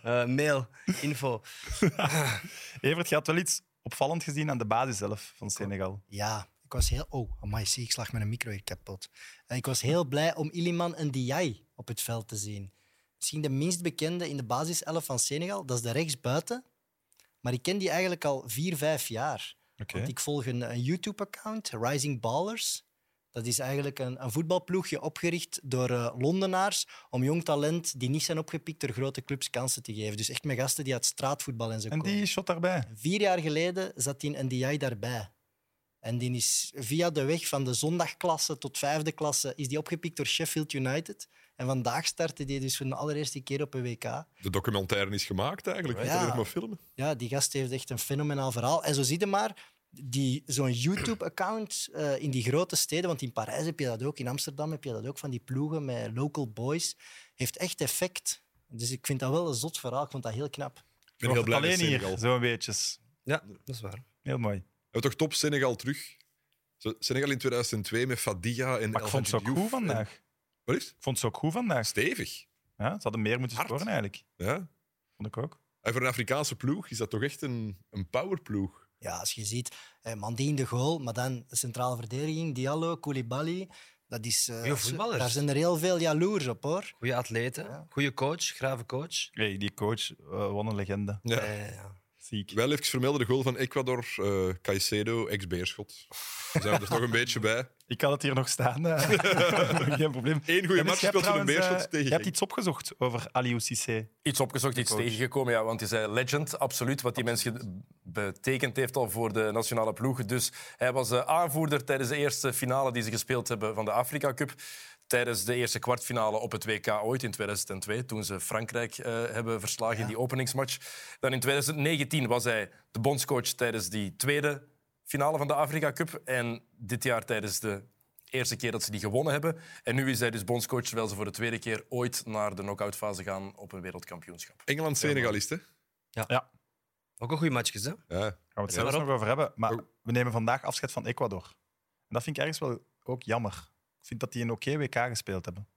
Eh, mail, info. Evert, je had wel iets opvallend gezien aan de basis zelf van Senegal. Ja, ik was heel... Oh, amai, zie, ik slag met een micro hier kapot. En ik was heel blij om Iliman en Diaye op het veld te zien. Misschien de minst bekende in de basiself van Senegal, dat is de rechtsbuiten. Maar ik ken die eigenlijk al vier, vijf jaar. Oké. Want ik volg een, een YouTube-account, Rising Ballers. Dat is eigenlijk een, een voetbalploegje opgericht door eh, Londenaars om jong talent die niet zijn opgepikt door grote clubs kansen te geven. Dus echt met gasten die uit straatvoetbal en zo En komen. die shot daarbij. Vier jaar geleden zat die NDI daarbij. En die is via de weg van de zondagklasse tot vijfde klasse is die opgepikt door Sheffield United. En vandaag startte die dus voor de allereerste keer op een WK. De documentaire is gemaakt eigenlijk. Je Ja. moet alleen nog maar filmen. Ja, die gast heeft echt een fenomenaal verhaal. En zo zie je maar, die, zo'n YouTube-account eh, in die grote steden, want in Parijs heb je dat ook, in Amsterdam heb je dat ook, van die ploegen met local boys, heeft echt effect. Dus ik vind dat wel een zot verhaal, ik vond dat heel knap. Ik ben heel blij met alleen Senegal. hier, zo'n weetjes. Ja, dat is waar. Heel mooi. We hebben toch top Senegal terug. Zo, Senegal in 2002 met Fadiga en Maar ik El vond ze ook Hadji Diouf goed en- vandaag. Wat is het? Ik vond ze ook goed vandaag. Stevig. Ja, ze hadden meer moeten Hard. scoren eigenlijk. Ja. Vond ik ook. En voor een Afrikaanse ploeg is dat toch echt een, een powerploeg. Ja, als je ziet, eh, Mandi in de goal, maar dan de centrale verdediging, Diallo, Koulibaly. Dat is, eh, Goeie voetballers. Daar zijn er heel veel jaloers op, hoor. Goeie atleten, goede coach, grave coach. Hey, die coach eh, won een legende. Ja. Eh, ja. Ziek. Wel even vermelden de goal van Ecuador, eh Caicedo, ex-beerschot. Daar zijn we er toch een beetje bij. Ik had het hier nog staan. eh. Geen probleem. Eén goede match speelt voor een beerschot tegen eh, Je hebt Genk. iets opgezocht over Aliou Cissé. Iets opgezocht, iets tegengekomen, ja, want hij zei legend, absoluut, wat die mens ge- betekend heeft al voor de nationale ploeg. Dus hij was eh, aanvoerder tijdens de eerste finale die ze gespeeld hebben van de Afrika Cup. Tijdens de eerste kwartfinale op het WK ooit in 2002, toen ze Frankrijk eh, hebben verslagen in die openingsmatch. Dan in 2019 was hij de bondscoach tijdens die tweede finale van de Afrika Cup. En dit jaar tijdens de eerste keer dat ze die gewonnen hebben. En nu is hij dus bondscoach, terwijl ze voor de tweede keer ooit naar de knock-outfase gaan op een wereldkampioenschap. Engeland-Senegalist, hè? Ook een goede matchjes, hè? Ja. Gaan we het zelfs nog over hebben. Maar we nemen vandaag afscheid van Ecuador. En dat vind ik ergens wel ook jammer. Ik vind dat die een oké WK gespeeld hebben.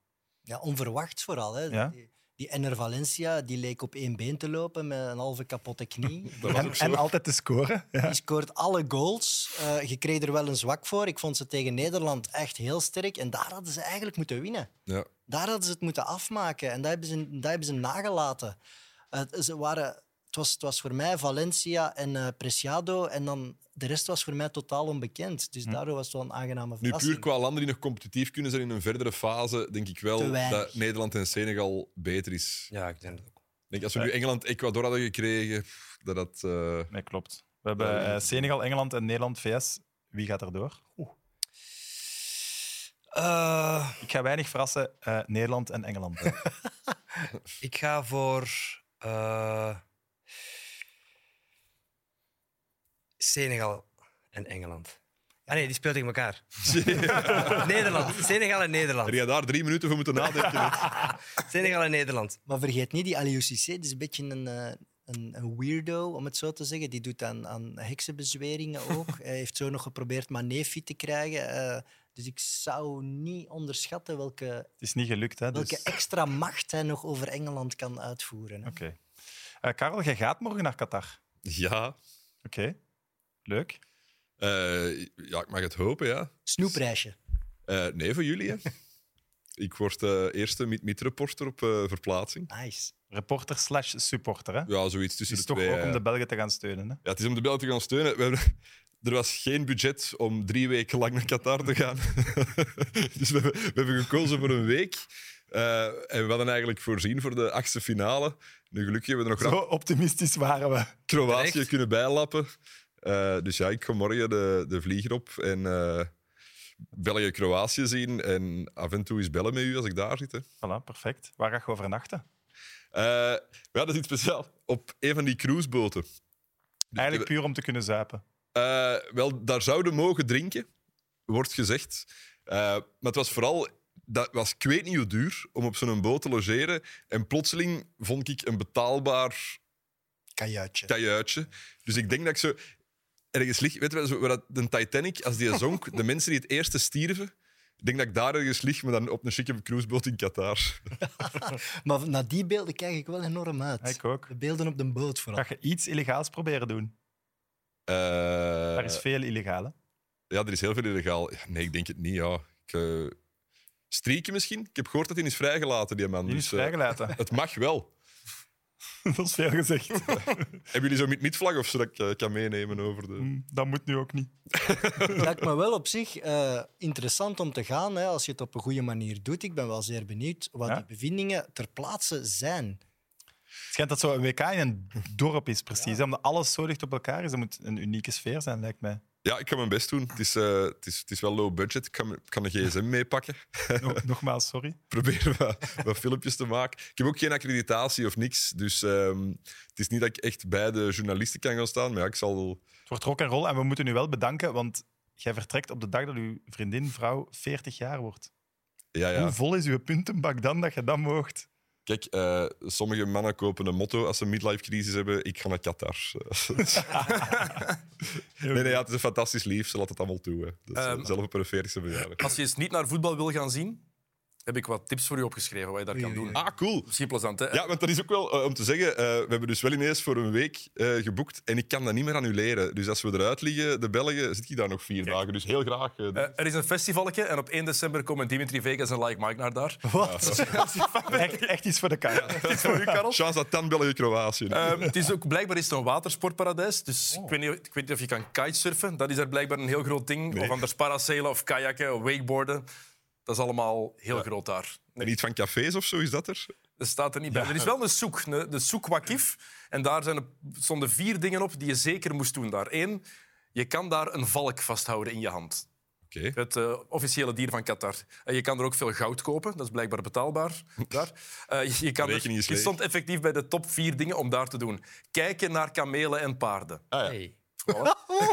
Ja, onverwachts vooral. Hè. Ja. Die, die Enner Valencia die leek op één been te lopen met een halve kapotte knie. Dat was En, ook zo. en altijd te scoren. Ja. Die scoort alle goals. Eh, je kreeg er wel een zwak voor. Ik vond ze tegen Nederland echt heel sterk. En daar hadden ze eigenlijk moeten winnen. Ja. Daar hadden ze het moeten afmaken. En daar hebben ze, daar hebben ze nagelaten. Het, ze waren, het, was, het was voor mij Valencia en eh, Preciado. En dan, de rest was voor mij totaal onbekend. Dus daardoor was het wel een aangename Hm. Nu verrassing. puur qua landen die nog competitief kunnen zijn in een verdere fase, denk ik Te wel weinig. dat Nederland en Senegal beter is. Ja, ik denk dat ook. Ik Denk, als we nu Engeland-Ecuador hadden gekregen, pff, dat dat... eh, Nee, klopt. We hebben eh, Senegal, Engeland en Nederland, VS. Wie gaat er door? Eh, Ik ga weinig verrassen. eh, Nederland en Engeland. ik ga voor... eh, Senegal en Engeland. Ah nee, die speelt tegen elkaar. Nederland. Senegal en Heb Nederland. jij daar drie minuten voor moeten nadenken? hè? Senegal en Nederland. Maar vergeet niet, die Aliou Cissé, die is een beetje een, eh, een, een weirdo, om het zo te zeggen. Die doet aan, aan heksenbezweringen ook. Hij heeft zo nog geprobeerd Mané fit te krijgen. Eh, dus ik zou niet onderschatten welke, Het is niet gelukt, hè? Dus... welke extra macht hij nog over Engeland kan uitvoeren. hè. Oké. Eh, Karel, jij gaat morgen naar Qatar. Ja. Oké, leuk. Eh, ja, ik mag het hopen, ja. Snoepreisje. Eh, nee, voor jullie, hè. ik word eh, eerste meet-meet-reporter op eh, verplaatsing. Nice. Reporter slash supporter, hè? Ja, zoiets tussen Het is de toch twee. ook om eh. de Belgen te gaan steunen, hè? Ja, het is om de Belgen te gaan steunen. We hebben- Er was geen budget om drie weken lang naar Qatar te gaan. dus we hebben, we hebben gekozen voor een week. Eh, en we hadden eigenlijk voorzien voor de achtste finale. Nu gelukkig hebben we er nog Zo rap optimistisch waren we. Kroatië terecht. kunnen bijlappen. Eh, dus ja, ik ga morgen de, de vlieger op en eh, België-Kroatië zien. En af en toe is bellen met u als ik daar zit. Hè. Voilà, perfect. Waar ga je overnachten? Eh, we hadden iets speciaals op een van die cruiseboten. Dus Eigenlijk puur om te kunnen zuipen. Eh, wel, daar zouden mogen drinken, wordt gezegd. Eh, maar het was vooral, dat was ik weet niet hoe duur om op zo'n boot te logeren. En plotseling vond ik een betaalbaar Kajuitje. kajuitje. Dus ik denk dat ik zo ergens lig. Weet je wel, zo waar dat- de Titanic, als die zonk, de mensen die het eerste stierven. Ik denk dat ik daar ergens lig, maar dan op een chique cruiseboot in Qatar. Maar naar die beelden kijk ik wel enorm uit. Ik ook. De beelden op de boot vooral. Ga je iets illegaals proberen doen? Eh, Daar is veel illegaal, hè? Ja, er is heel veel illegaal. Ja, Nee, ik denk het niet, ja. Ik, eh, Streken misschien? Ik heb gehoord dat hij is vrijgelaten, die man. Die is Dus, eh, vrijgelaten. Het mag wel. Dat is veel gezegd. Hebben jullie zo met mitvlag of zo dat ik eh, kan meenemen over de... Mm, Dat moet nu ook niet. Lijkt me wel op zich eh, interessant om te gaan hè, als je het op een goede manier doet. Ik ben wel zeer benieuwd wat Ja? die bevindingen ter plaatse zijn. Het schijnt dat zo'n WK in een dorp is, precies. hè, Omdat alles zo dicht op elkaar is. Dat moet een unieke sfeer zijn, lijkt mij. Ja, ik ga mijn best doen. Het is, eh, het is, het is wel low budget. Ik kan, ik kan een gsm meepakken. No- nogmaals, sorry. Proberen wat, wat filmpjes te maken. Ik heb ook geen accreditatie of niks. Dus ehm, het is niet dat ik echt bij de journalisten kan gaan staan. Maar ja, ik zal wel... Het wordt rock en roll en we moeten u wel bedanken, want jij vertrekt op de dag dat uw vriendin, vrouw, 40 jaar wordt. Ja, ja. Hoe vol is uw puntenbak dan dat je dat moogt? Kijk, eh, sommige mannen kopen een motto als ze een midlife-crisis hebben. Ik ga naar Qatar. nee, nee ja, het is een fantastisch lief. Ze laat het allemaal toe. Hè. Dat is, eh, Ehm, zelf op hun 40ste verjaardag. Als je eens niet naar voetbal wil gaan zien, heb ik wat tips voor u opgeschreven wat je daar kan doen. Ah, cool. Misschien plezant, hè? Ja, want dat is ook wel eh, om te zeggen. eh, we hebben dus wel ineens voor een week eh, geboekt. En ik kan dat niet meer annuleren. Dus als we eruit liggen, de Belgen, zit ik daar nog vier dagen. Dus heel graag. eh, Eh, er is een festivaletje en op 1 december komen Dimitri Vegas en Like Mike naar daar. Wat? Echt, echt iets voor de kaart. voor u, Karel. Chance dat dan België-Kroatië. is. Ehm, het is ook, blijkbaar is het een watersportparadijs. Dus ik, weet niet, ik weet niet of je kan kitesurfen. Dat is daar blijkbaar een heel groot ding. Of anders parasailen of kajakken of wakeboarden. Dat is allemaal heel groot daar. En iets van cafés of zo is dat er? Dat staat er niet bij. Er is wel een soek, een- de soek Wakif. En daar zijn, er- stonden vier dingen op die je zeker moest doen daar. Eén, je kan daar een valk vasthouden in je hand. Oké. Het eh, officiële dier van Qatar. En je kan er ook veel goud kopen. Dat is blijkbaar betaalbaar daar. Eh, je, je kan De rekening is je leeg. stond effectief bij de top vier dingen om daar te doen. Kijken naar kamelen en paarden. Hey. Oh,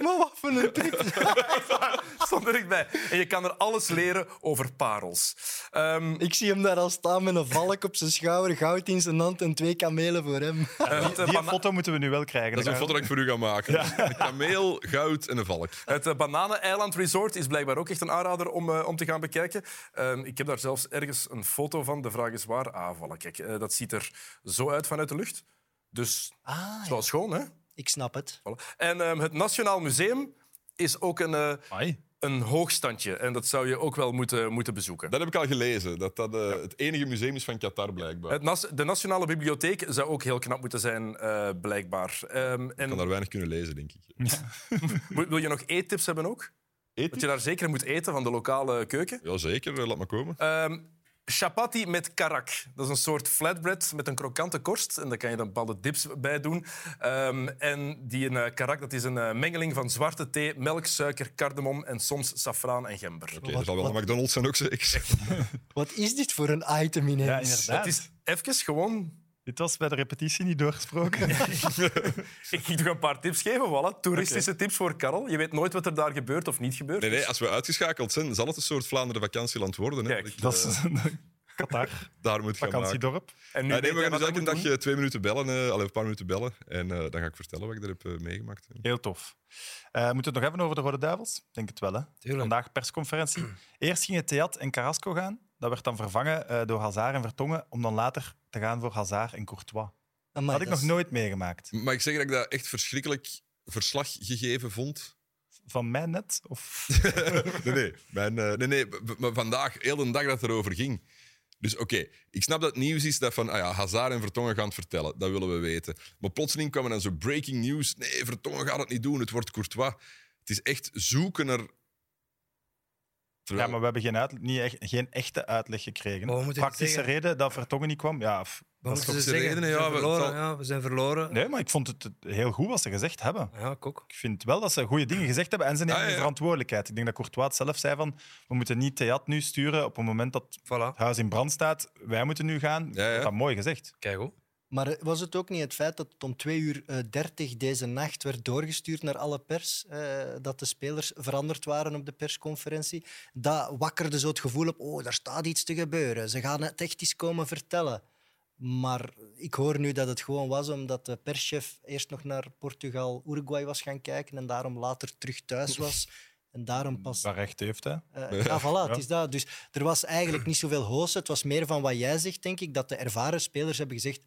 Maar wat voor een trip. Stond er echt bij. En je kan er alles leren over parels. Ehm, Ik zie hem daar al staan met een valk op zijn schouder, goud in zijn hand en twee kamelen voor hem. eh, het, eh, Die bana- foto moeten we nu wel krijgen. Dat is een Karel. foto dat ik voor u ga maken. Dus Een kameel, goud en een valk. Het eh, Bananeneiland Resort is blijkbaar ook echt een aanrader om, eh, om te gaan bekijken. Ehm, ik heb daar zelfs ergens een foto van. De vraag is waar aanvallen. Kijk, eh, dat ziet er zo uit vanuit de lucht. Dus het Ah, is wel schoon, hè? ik snap het. Voilà. En ehm, het Nationaal Museum is ook een, eh, Amai. een hoogstandje. En dat zou je ook wel moeten, moeten bezoeken. Dat heb ik al gelezen. Dat dat eh, het enige museum is van Qatar, blijkbaar. Het Ik Nas- de Nationale Bibliotheek zou ook heel knap moeten zijn, eh, blijkbaar. Ehm, kan en daar weinig kunnen lezen, denk ik. moet- wil je nog eettips hebben ook? Dat Mm. je daar zeker moet eten van de lokale keuken? Ja, zeker. eh, Laat maar komen. Ehm chapati met karak. Dat is een soort flatbread met een krokante korst. En daar kan je dan bepaalde dips bij doen. Ehm, en die een, eh, karak dat is een eh, mengeling van zwarte thee, melk, suiker, kardemom en soms saffraan en gember. Oké, er zal wel een McDonald's zijn ook zeker. Wat is dit voor een item in Ja, ja, inderdaad. Het is even gewoon... Dit was bij de repetitie niet doorgesproken. Ik ging toch een paar tips geven, voilà. Toeristische tips voor Karel. Je weet nooit wat er daar gebeurt of niet gebeurt. Nee, nee, als we uitgeschakeld zijn, zal het een soort Vlaanderen vakantieland worden. Hè, Kijk, dat ik, Dat eh, is Qatar, daar moet gaan maken. vakantiedorp. En nu Nee, weet nee, we gaan dus jij wat elke je moet dag doen. eh, twee minuten bellen, eh allee, een paar minuten bellen. En eh, dan ga ik vertellen wat ik er heb eh, meegemaakt. Heel tof. Eh moeten we het nog even over de Rode Duivels? Ik Denk het wel, hè? Tuurlijk. Vandaag persconferentie. Eerst gingen Theat en Carrasco gaan. Dat werd dan vervangen eh, door Hazard en Vertongen, om dan later te gaan voor Hazard en Courtois. Amai, had ik dat nog is- nooit meegemaakt. Mag ik zeggen dat ik dat echt verschrikkelijk verslag gegeven vond? Van mij net? Of... nee, nee, mijn, eh, nee, nee, b- b- maar vandaag, heel de dag dat het erover ging. Dus oké, ik snap dat het nieuws is dat van ah ja, Hazard en Vertongen gaan het vertellen. Dat willen we weten. Maar plotseling kwam er dan zo breaking news. Nee, Vertongen gaat het niet doen, het wordt Courtois. Het is echt zoeken naar... Ja, maar we hebben geen, uitle- niet echt, geen echte uitleg gekregen. Maar we moeten Praktische zeggen- reden dat Vertongen niet kwam? Ja, f- Wat dat is moeten toch- ze de zeggen? reden, we, ja, zijn we- verloren, zal- ja, we zijn verloren. Nee, maar ik vond het eh, heel goed wat ze gezegd hebben. Ja, ik ook. Ik vind wel dat ze goede dingen gezegd hebben en ze nemen Ja, ja, de ja. verantwoordelijkheid. Ik denk dat Courtois het zelf zei van, we moeten niet Theat nu sturen op het moment dat het Voilà. huis in brand staat. Wij moeten nu gaan. Ja, ja. Dat mooi gezegd. Kijk goed. Maar eh, was het ook niet het feit dat het om 2 uur eh, 30 deze nacht werd doorgestuurd naar alle pers, eh, dat de spelers veranderd waren op de persconferentie? Dat wakkerde zo het gevoel op, oh, daar staat iets te gebeuren. Ze gaan het echt iets komen vertellen. Maar ik hoor nu dat het gewoon was omdat de perschef eerst nog naar Portugal, Uruguay was gaan kijken en daarom later terug thuis was. En daarom pas Waar recht heeft, hè. eh, ja, voilà, het is dat. Dus er was eigenlijk niet zoveel hoos. Het was meer van wat jij zegt, denk ik, dat de ervaren spelers hebben gezegd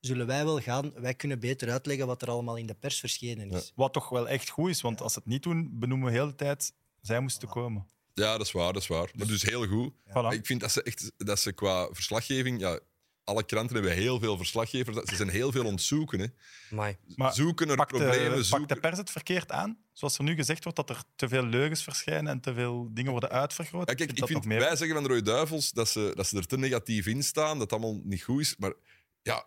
zullen wij wel gaan, wij kunnen beter uitleggen wat er allemaal in de pers verschenen is. Wat toch wel echt goed is, want als ze het niet doen, benoemen we heel de tijd, zij moesten komen. Ja, dat is waar, dat is waar. Maar dus heel goed. Voilà. Ik vind dat ze, echt, dat ze qua verslaggeving... Ja, alle kranten hebben heel veel verslaggevers. dat- Ze zijn heel veel ontzoeken. Hè. Amai. Maar zoeken naar pakt problemen. de, pakt zoeken... de pers het verkeerd aan? Zoals er nu gezegd wordt dat er te veel leugens verschijnen en te veel dingen worden uitvergroot. Ja, kijk, ik dat vind, nog meer. wij zeggen van de Rode Duivels dat ze, dat ze er te negatief in staan, dat het allemaal niet goed is. Maar ja,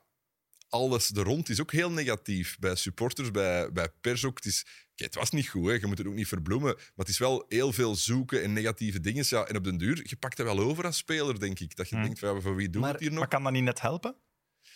alles er rond is ook heel negatief. Bij supporters, bij, bij pers ook. Het, is, kijk, het was niet goed, hè. je moet het ook niet verbloemen. Maar het is wel heel veel zoeken en negatieve dingen. Ja, en op den duur, je pakt dat wel over als speler, denk ik. Dat je Hmm. denkt, van, ja, voor wie doen we Maar- het hier nog? Maar kan dat niet net helpen?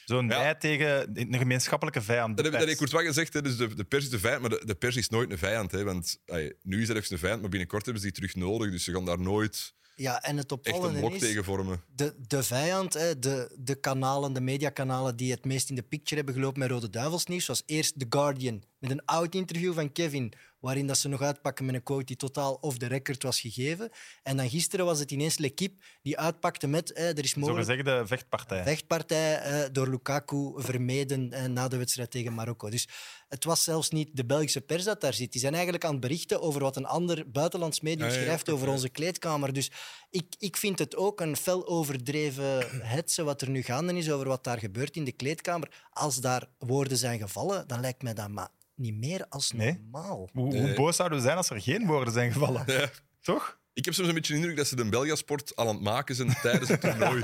Zo'n Ja. wij tegen een gemeenschappelijke vijand. de Dat heb, dat pers. heeft Courtois gezegd, hè. dus de, de pers is de vijand, maar de, de pers is nooit een vijand. Hè, want ay, nu is er even een vijand, maar binnenkort hebben ze die terug nodig. Dus ze gaan daar nooit Ja, en het echt een opvallende blok is, tegen vormen. de, de vijand, hè, de, de kanalen, de mediakanalen die het meest in de picture hebben gelopen met Rode Duivels nieuws, was eerst The Guardian met een oud interview van Kevin, waarin dat ze nog uitpakken met een quote die totaal off the record was gegeven. En dan gisteren was het ineens L'Equipe die uitpakte met, hè, er is mogelijk Zogezegde vechtpartij. vechtpartij eh, door Lukaku vermeden eh, na de wedstrijd tegen Marokko. Dus het was zelfs niet de Belgische pers dat daar zit. Die zijn eigenlijk aan het berichten over wat een ander buitenlands medium Ja, ja, ja, schrijft klopt, over ja. onze kleedkamer. Dus ik, ik vind het ook een fel overdreven hetze wat er nu gaande is over wat daar gebeurt in de kleedkamer. Als daar woorden zijn gevallen, dan lijkt mij dat maar niet meer als Nee. normaal. Hoe, Nee. hoe boos zouden we zijn als er geen woorden zijn gevallen? Ja. Toch? Ik heb soms een beetje de indruk dat ze de Belgasport al aan het maken zijn tijdens het toernooi.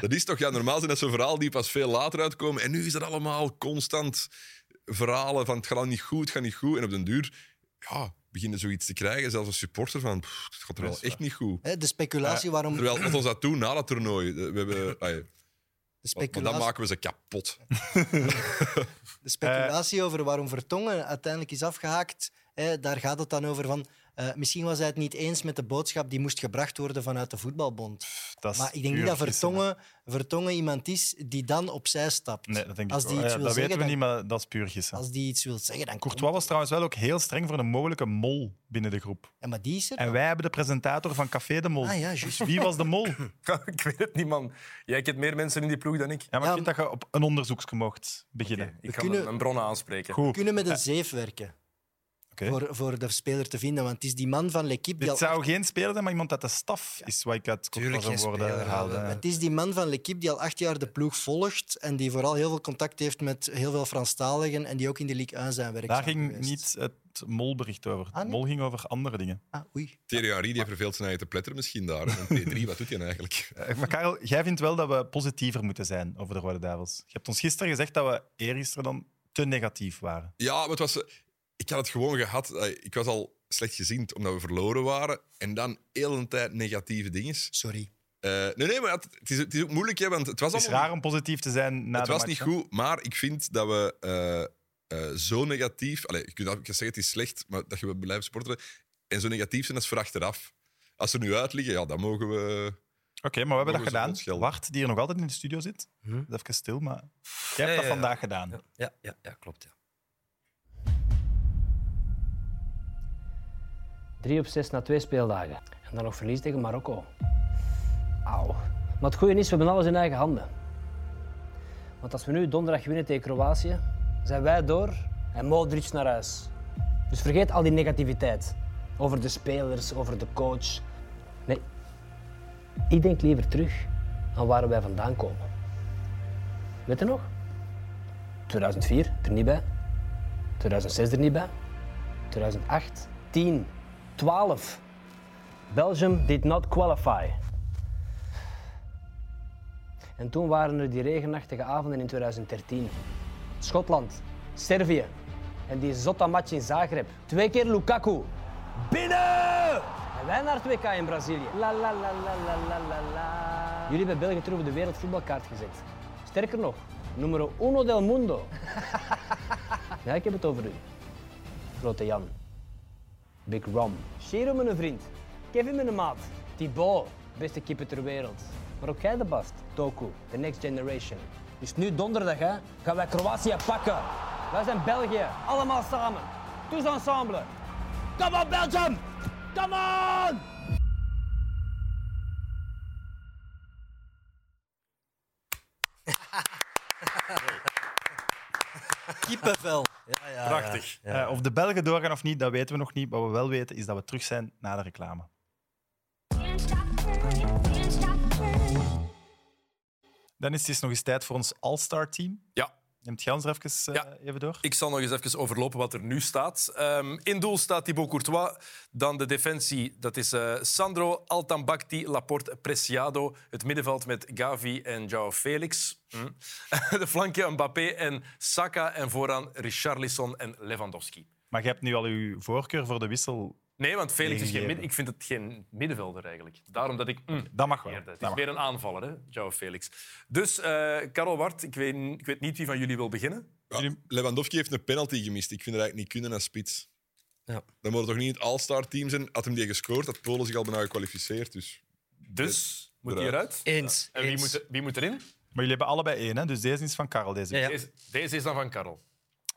dat is toch, ja, normaal zijn dat zo'n verhaal die pas veel later uitkomen. En nu is dat allemaal constant verhalen van het gaat al niet goed, het gaat niet goed. En op den duur, ja, beginnen zoiets te krijgen, zelfs als supporter, van pff, het gaat er wel echt niet goed. Hè, De speculatie waarom... Terwijl, wat ons dat toen na dat toernooi, eh, we hebben, ah, ja, want- De want speculatie... dan maken we ze kapot. De speculatie Eh. over waarom Vertongen uiteindelijk is afgehaakt, hè, daar gaat het dan over van... eh, misschien was hij het niet eens met de boodschap die moest gebracht worden vanuit de voetbalbond. Dat is Maar ik denk niet puur dat gissen, hè. Vertongen, Vertongen iemand is die dan opzij stapt. Nee, dat denk ik als die wel. iets Ja, wil dat zeggen, weten we niet, dan- maar dat is puur gissen. Als die iets wil zeggen, dan komt Courtois was trouwens wel ook heel streng voor een mogelijke mol binnen de groep. Ja, maar die is er. En wij hebben de presentator van Café de Mol. Ah, ja, dus juist. wie was de mol? Ja, eh, ik weet het niet, man. Jij kent meer mensen in die ploeg dan ik. maar Ja, ik vind dat je op een onderzoeksje mocht beginnen. Oké, ik ga kunnen- mijn- mijn bronnen aanspreken. Goed. We kunnen met een zeef werken Oké. voor, voor de speler te vinden, want het is die man van L'Equipe die Dit al zou geen speler zijn, maar iemand uit de staf is wat ik uit Tuurlijk Courtois' geen woorden speler, haalde. ja. Het is die man van L'Equipe die al acht jaar de ploeg volgt en die vooral heel veel contact heeft met heel veel Franstaligen en die ook in de Ligue 1 zijn werkzaam Daar ging geweest. niet het molbericht over. Ah, nee? Het mol ging over andere dingen. Ah, oei. Thierry Henry die verveelt zijn eigen te pletteren misschien daar. En P3, wat doet hij nou eigenlijk? Eh, Maar Karel, jij vindt wel dat we positiever moeten zijn over de Rode Duivels. Je hebt ons gisteren gezegd dat we eergisteren dan te negatief waren. Ja, maar het was, ik had het gewoon gehad. Eh, Ik was al slecht gezind omdat we verloren waren. En dan heel een tijd negatieve dingen. Sorry. Eh, nee, nee, maar het, het is, het is ook moeilijk, hè, want het was Het is allemaal- raar om positief te zijn na het de was match, niet hè? goed, maar ik vind dat we eh, eh, zo negatief... Allee, je kunt dat- ik kan zeggen, het is slecht, maar dat je wel blijft sporten. En zo negatief zijn, dat is voor achteraf. Als ze er nu uit liggen, ja, dan mogen we... Oké, maar we hebben Mogen ze dat ons gedaan. schelden? Wart, die er nog altijd in de studio zit. Mhm. Dat is Even stil, maar jij hebt Ja, dat ja, ja. vandaag gedaan. Ja, ja, ja, ja klopt. Ja. 3 op 6 na twee speeldagen. En dan nog verlies tegen Marokko. Auw. Maar het goede is, we hebben alles in eigen handen. Want als we nu donderdag winnen tegen Kroatië, zijn wij door en Modric naar huis. Dus vergeet al die negativiteit over de spelers, over de coach. Nee, ik denk liever terug aan waar wij vandaan komen. Weet je nog? 2004 er niet bij, 2006 er niet bij, 2008, 10, 12. Belgium did not qualify. En toen waren er die regenachtige avonden in 2013. Schotland, Servië en die zotte match in Zagreb. Twee keer Lukaku. Binnen! En wij naar het WK in Brazilië. La la la la la la la la. Jullie hebben België terug op de wereldvoetbalkaart gezet. Sterker nog, nummer uno del mundo. ja, ik heb het over u. Grote Jan. Big Rom. Shiro, mijn vriend. Kevin, mijn maat. Thibaut, beste keeper ter wereld. Maar ook jij de bast. Toku, the next generation. Dus nu donderdag hè, gaan wij Kroatië pakken. Wij zijn België, allemaal samen. Tous ensemble. Come on, Belgium! Come on! Kiepenvel. Prachtig. Eh, of de Belgen doorgaan of niet, dat weten we nog niet. Wat we wel weten, is dat we terug zijn na de reclame. Can't stop burning, can't stop burning. Dan is het eens nog eens tijd voor ons All-Star team. Ja. Neemt Gans er even, eh, even door. Ik zal nog eens even overlopen wat er nu staat. Ehm, in doel staat Thibaut Courtois. Dan de defensie, dat is eh, Sandro, Altambacti, Laporte, Preciado. Het middenveld met Gavi en João Felix. Hm. de flanken Mbappé en Saka. En vooraan Richarlison en Lewandowski. Maar je hebt nu al uw voorkeur voor de wissel. Nee, want Felix is geen Ingegeven. midden... Ik vind het geen middenvelder eigenlijk. Daarom dat ik... hm, Dat mag wel. eerder. Dat Het is mag. meer een aanvaller, hè, João Felix. Dus, eh Karel Wart, ik weet, ik weet niet wie van jullie wil beginnen. Ja, Lewandowski heeft een penalty gemist. Ik vind dat eigenlijk niet kunnen als spits. Ja. Dan wordt toch niet het All-Star team zijn. Had hem die gescoord, had Polen zich al bijna gekwalificeerd. Dus Dus, moet die eruit. eruit? Eens. En wie eens. moet, er- wie moet erin? Maar jullie hebben allebei één, hè? dus deze is van Karel. Deze. Ja, ja. Deze, deze is dan van Karel.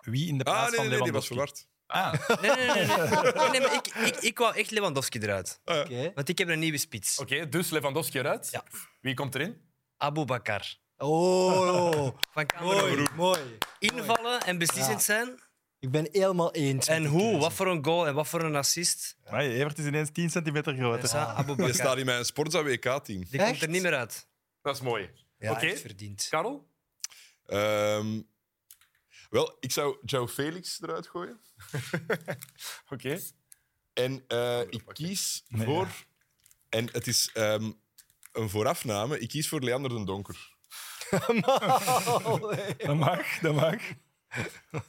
Wie in de plaats Ah, nee, van nee, nee, die Lewandowski? was verward. Nee, nee, nee. nee. Nee, nee, maar ik, ik, ik wou echt Lewandowski eruit. Oké. Want ik heb een nieuwe spits. Oké, dus Lewandowski eruit. Ja. Wie komt erin? Abu Bakar. Oh, Van Cameroen. mooi, mooi. Invallen en beslissend Ja. zijn. Ik ben helemaal eens. En hoe? Wat voor een goal en wat voor een assist. Ah, Maar Evert is ineens 10 centimeter groter. Dus, ah, Abu Die Bakar. staat in mijn Sportza WK-team. Die Echt? komt er niet meer uit. Dat is mooi. Ja, Oké. echt verdiend. Karel? Ehm, wel, ik zou Joe Felix eruit gooien. Oké. En Oh, eh, ik kies voor... En het is ehm, een voorafname. Ik kies voor Leander den Donker. Dat mag, dat mag.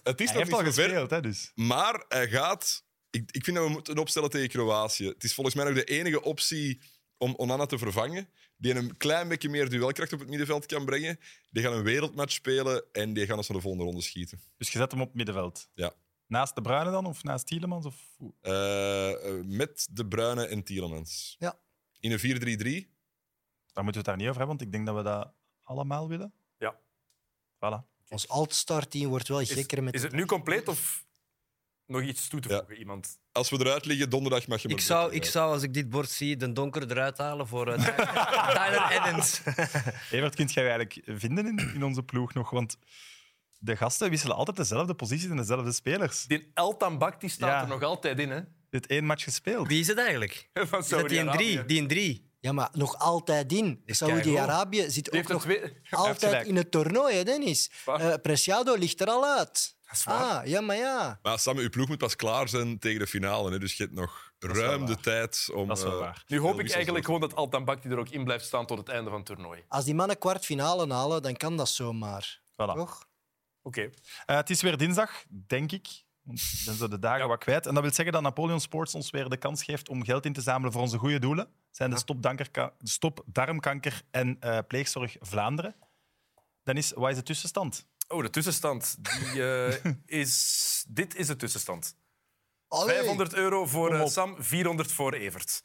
Het is Hij heeft nog al niet zover, gespeeld, hè, dus. maar hij gaat... Ik, ik vind dat we moeten opstellen tegen Kroatië. Het is volgens mij nog de enige optie om Onana te vervangen. Die een klein beetje meer duelkracht op het middenveld kan brengen. Die gaan een wereldmatch spelen en die gaan ons naar de volgende ronde schieten. Dus je zet hem op het middenveld. Ja. Naast de Bruine dan, of naast Tielemans? Of... hoe? Eh, eh, met De Bruyne en Tielemans. Ja. In een 4-3-3. Daar moeten we het daar niet over hebben, want ik denk dat we dat allemaal willen. Ja. Voilà. Ons Alt-Star team wordt wel Is, gekker met is het nu compleet of nog iets toe te Ja. voegen? Iemand? Als we eruit liggen, donderdag mag je maar Ik zou, beter, ik eh. zou, als ik dit bord zie, de donker eruit halen voor eh, Tyler Evans. Evert, kunt jij eigenlijk vinden in, in onze ploeg nog? Want de gasten wisselen altijd dezelfde posities en dezelfde spelers. Die Eltambak die staat Ja. er nog altijd in, hè? Dit één match gespeeld. Wie is het eigenlijk? Van Is dat die in drie? Die in drie. Ja, maar nog altijd in. Is Saudi-Arabië zit ook heeft er nog twee... gelijk. altijd in het toernooi, hè, Dennis. Waar? Eh Preciado ligt er al uit. waar. Ah, ja, maar ja. Maar Sam, uw ploeg moet pas klaar zijn tegen de finale. Hè? Dus je hebt nog is wel ruim de waar. tijd om... Dat is wel eh, waar. Nu hoop ik wissels eigenlijk door gewoon dat Altambak die er ook in blijft staan tot het einde van het toernooi. Als die mannen kwartfinale halen, dan kan dat zomaar. Voilà. Toch? Oké. Eh, het is weer dinsdag, denk ik. Want ik ben zo de dagen wat kwijt. En dat wil zeggen dat Napoleon Sports ons weer de kans geeft om geld in te zamelen voor onze goede doelen. Dat zijn de Stop, Dankerka- Stop Darmkanker en eh, Pleegzorg Vlaanderen. Dan is, wat is de tussenstand? Oh, de tussenstand. Die, eh, is... Dit is de tussenstand. Allee. 500 euro voor eh, op. Sam, 400 voor Evert.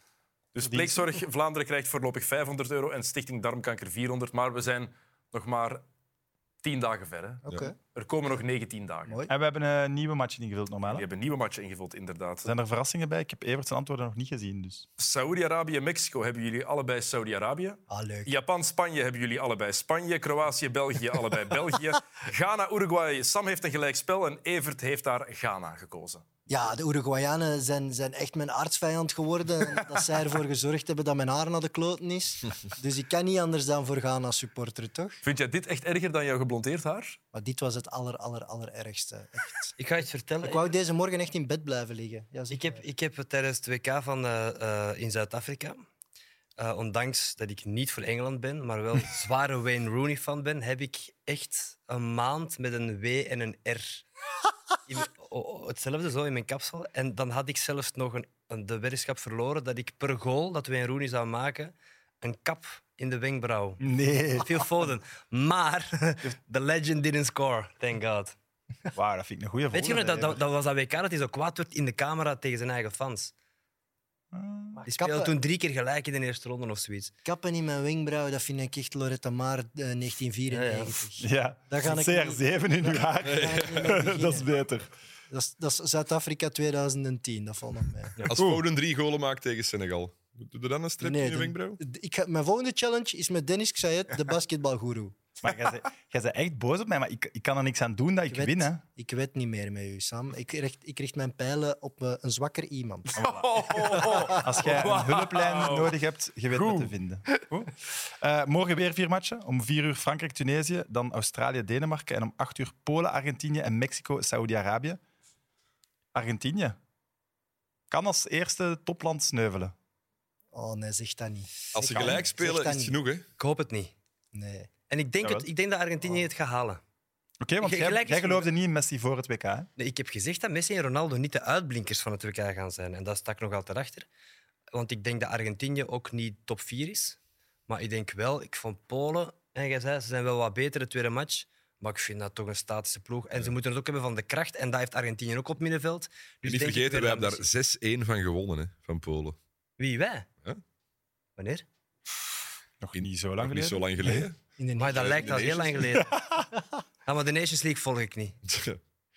Dus pleegzorg Vlaanderen krijgt voorlopig 500 euro en Stichting Darmkanker 400. Maar we zijn nog maar tien dagen ver. Hè? Oké. Er komen nog 19 dagen. Mooi. En we hebben een nieuwe match ingevuld normaal. Die hè? hebben nieuwe matchen ingevuld, inderdaad. Zijn er verrassingen bij? Ik heb Evert zijn antwoorden nog niet gezien. Dus. Saudi-Arabië en Mexico hebben jullie allebei Saudi-Arabië. Ah, leuk. Japan, Spanje hebben jullie allebei Spanje. Kroatië, België, allebei België. Ghana, Uruguay. Sam heeft een gelijkspel en Evert heeft daar Ghana gekozen. Ja, de Uruguayanen zijn, zijn echt mijn aardsvijand geworden. En dat zij ervoor gezorgd hebben dat mijn haar naar de kloten is. Dus ik kan niet anders dan voor Ghana supporter, toch? Vind jij dit echt erger dan jouw geblondeerd haar? Maar dit was het aller, aller, allerergste. Echt. Ik ga iets vertellen. Ik wou deze morgen echt in bed blijven liggen. Ja, zeg Ik heb, maar. ik heb tijdens het WK van, eh, eh, in Zuid-Afrika, eh, ondanks dat ik niet voor Engeland ben, maar wel zware Wayne Rooney-fan ben, heb ik echt een maand met een W en een R. In mijn- o- o- hetzelfde zo in mijn kapsel. En dan had ik zelfs nog een, een, de weddenschap verloren dat ik per goal dat Wayne Rooney zou maken, een kap in de wenkbrauw. Nee. Phil Foden. Maar the legend didn't score, thank god. Wauw, dat vind ik een goede Weet je nog, volgende, dat, dat, dat was dat WK dat hij zo kwaad werd in de camera tegen zijn eigen fans. Ah. Die speelde kappen- toen drie keer gelijk in de eerste ronde of zoiets. Kappen in mijn wenkbrauw, dat vind ik echt Loretta Maar eh, 1994. Evert. Ja, Daar ga ik CR7 in uw haar. Daar ga ik niet mee beginnen. dat is beter. Dat is, dat is Zuid-Afrika 2010, dat valt nog mee. Als Foden drie golen maakt tegen Senegal, doe er dan een stripje in je dan- wenkbrauw? ik ga, mijn volgende challenge is met Dennis Xayet, de basketbalgoeroe. Maar jij zei- jij bent echt boos op mij, maar ik, ik kan er niks aan doen dat ik, weet- win. Hè. Ik weet niet meer met u, Sam. Ik richt, ik richt mijn pijlen op eh, een zwakker iemand. Oh, Als jij een hulplijn Wauw. nodig hebt, je weet me te vinden. Eh, morgen weer vier matchen. Om vier uur Frankrijk-Tunesië, dan Australië-Denemarken en om acht uur Polen-Argentinië en Mexico-Saudi-Arabië. Argentinië kan als eerste topland sneuvelen. Oh nee, zeg dat niet. Als ze kan. gelijk Zeg spelen, dat is het niet. genoeg, hè? Ik hoop het niet. Nee. En ik denk, het, Jawel. ik denk dat Argentinië Oh. het gaat halen. Oké, want Ge- jij, gelijk is jij goed. geloofde niet in Messi voor het WK. Hè? Nee, ik heb gezegd dat Messi en Ronaldo niet de uitblinkers van het WK gaan zijn. En dat stak nog altijd achter. Want ik denk dat Argentinië ook niet top 4 is. Maar ik denk wel, ik vond Polen, en jij zei, ze zijn wel wat beter de tweede match. Maar ik vind dat toch een statische ploeg. En ze moeten het ook hebben van de kracht. En dat heeft Argentinië ook op middenveld. Dus niet denk ik vergeten, weer wij dat hebben Messi- daar 6-1 van gewonnen, hè, van Polen. Wie, wij? Ja. Wanneer? Nog niet zo lang Nog niet geleden. zo lang geleden. In de Maar dat Ja, lijkt de al heel lang Nations geleden. Ja, maar de Nations League volg ik niet.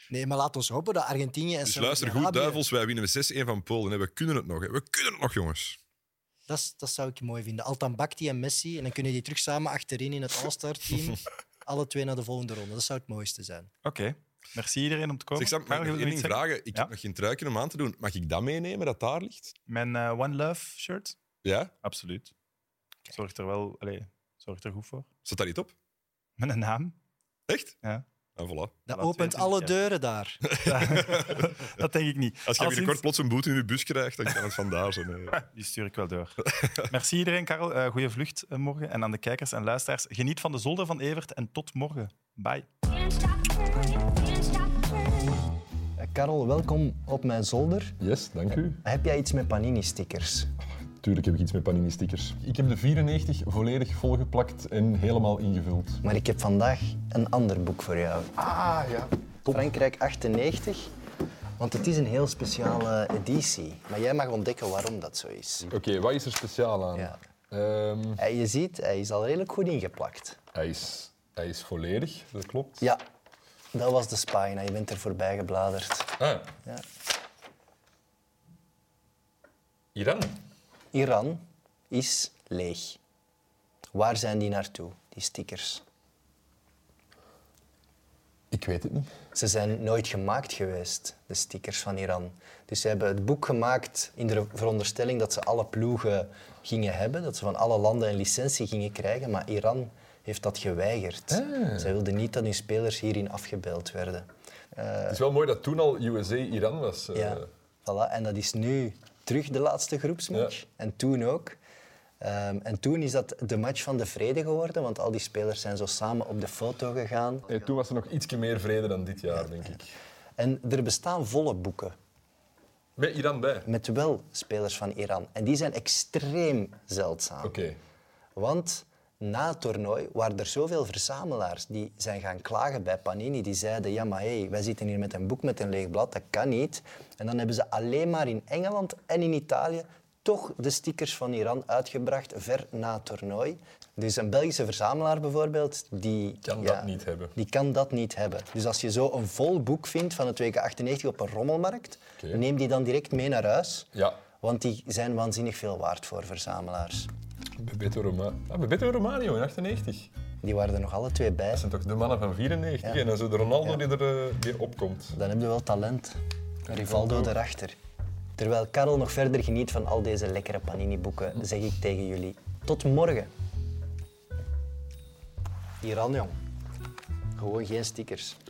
Nee, maar laat ons hopen dat Argentinië en dus luister goed, Saudi-Arabië- duivels. Wij winnen met 6-1 van Polen. Hè. We kunnen het nog, hè. We kunnen het nog, jongens. Dat, is- dat zou ik mooi vinden. Altan Bakti en Messi. En dan kunnen die terug samen achterin in het All-Star-team. Alle twee naar de volgende ronde. Dat zou het mooiste zijn. Oké. Merci iedereen om te komen. Zeg, Sam, mag ik Karel, nog wil je één iets ding zeggen? vragen? Ik Ja. heb nog geen truiken om aan te doen. Mag ik dat meenemen, dat daar ligt? Mijn eh, One Love shirt? Ja? Absoluut. Zorgt er wel allee, zorgt er goed voor. Zit daar niet op? Met een naam. Echt? Ja. En voilà. Dat Laat opent weten, alle ja. deuren daar. dat denk ik niet. Als je Alleszins- binnenkort plots een boete in je bus krijgt, dan kan het vandaar zijn. hè. Die stuur ik wel door. Merci iedereen, Karel. Eh goede vlucht eh, morgen. En aan de kijkers en luisteraars, geniet van de zolder van Evert. En tot morgen. Bye. Can't stop turning, can't stop turning. Eh, Karel, welkom op mijn zolder. Yes, dank u. Heb jij iets met Panini-stickers? Tuurlijk heb ik iets met panini-stickers. Ik heb de 94 volledig volgeplakt en helemaal ingevuld. Maar ik heb vandaag een ander boek voor jou. Ah, ja. Frankrijk 98. Want het is een heel speciale editie. Maar jij mag ontdekken waarom dat zo is. Oké, wat is er speciaal aan? Ja. Ehm, En je ziet, hij is al redelijk goed ingeplakt. hij, is, hij is volledig, dat klopt. Ja, dat was de pagina. Je bent er voorbij gebladerd. Ah, Ja. Iran. Iran is leeg. Waar zijn die naartoe, die stickers? Ik weet het niet. Ze zijn nooit gemaakt geweest, de stickers van Iran. Dus ze hebben het boek gemaakt in de veronderstelling dat ze alle ploegen gingen hebben, dat ze van alle landen een licentie gingen krijgen, maar Iran heeft dat geweigerd. Ah. Zij wilden niet dat hun spelers hierin afgebeeld werden. Het is wel mooi dat toen al USA-Iran was. eh. Ja, voilà. En dat is nu terug de laatste groepsmatch. Ja. En toen ook. Ehm, en toen is dat de match van de vrede geworden, want al die spelers zijn zo samen op de foto gegaan. Nee, toen was er nog ietsje meer vrede dan dit jaar, denk ik. En er bestaan volle boeken Met Iran bij. Oké. met wel spelers van Iran. En die zijn extreem zeldzaam. Want na het toernooi waren er zoveel verzamelaars die zijn gaan klagen bij Panini. Die zeiden, ja maar hé, wij zitten hier met een boek met een leeg blad, dat kan niet. En dan hebben ze alleen maar in Engeland en in Italië toch de stickers van Iran uitgebracht ver na het toernooi. Dus een Belgische verzamelaar bijvoorbeeld, die Kan ja, dat niet hebben. Die kan dat niet hebben. Dus als je zo een vol boek vindt van het WK 98 op een rommelmarkt, Oké. neem die dan direct mee naar huis. Ja. Want die zijn waanzinnig veel waard voor verzamelaars. Bebeto, Roma ah, Bebeto Romario in 98. Die waren er nog alle twee bij. Dat zijn toch de mannen van 94 Ja. en dan zo de Ronaldo Ja. die er eh, die opkomt. Dan heb je wel talent. Rivaldo erachter. Terwijl Karel nog verder geniet van al deze lekkere panini-boeken, zeg ik tegen jullie. Tot morgen. Iran, jong. Gewoon geen stickers.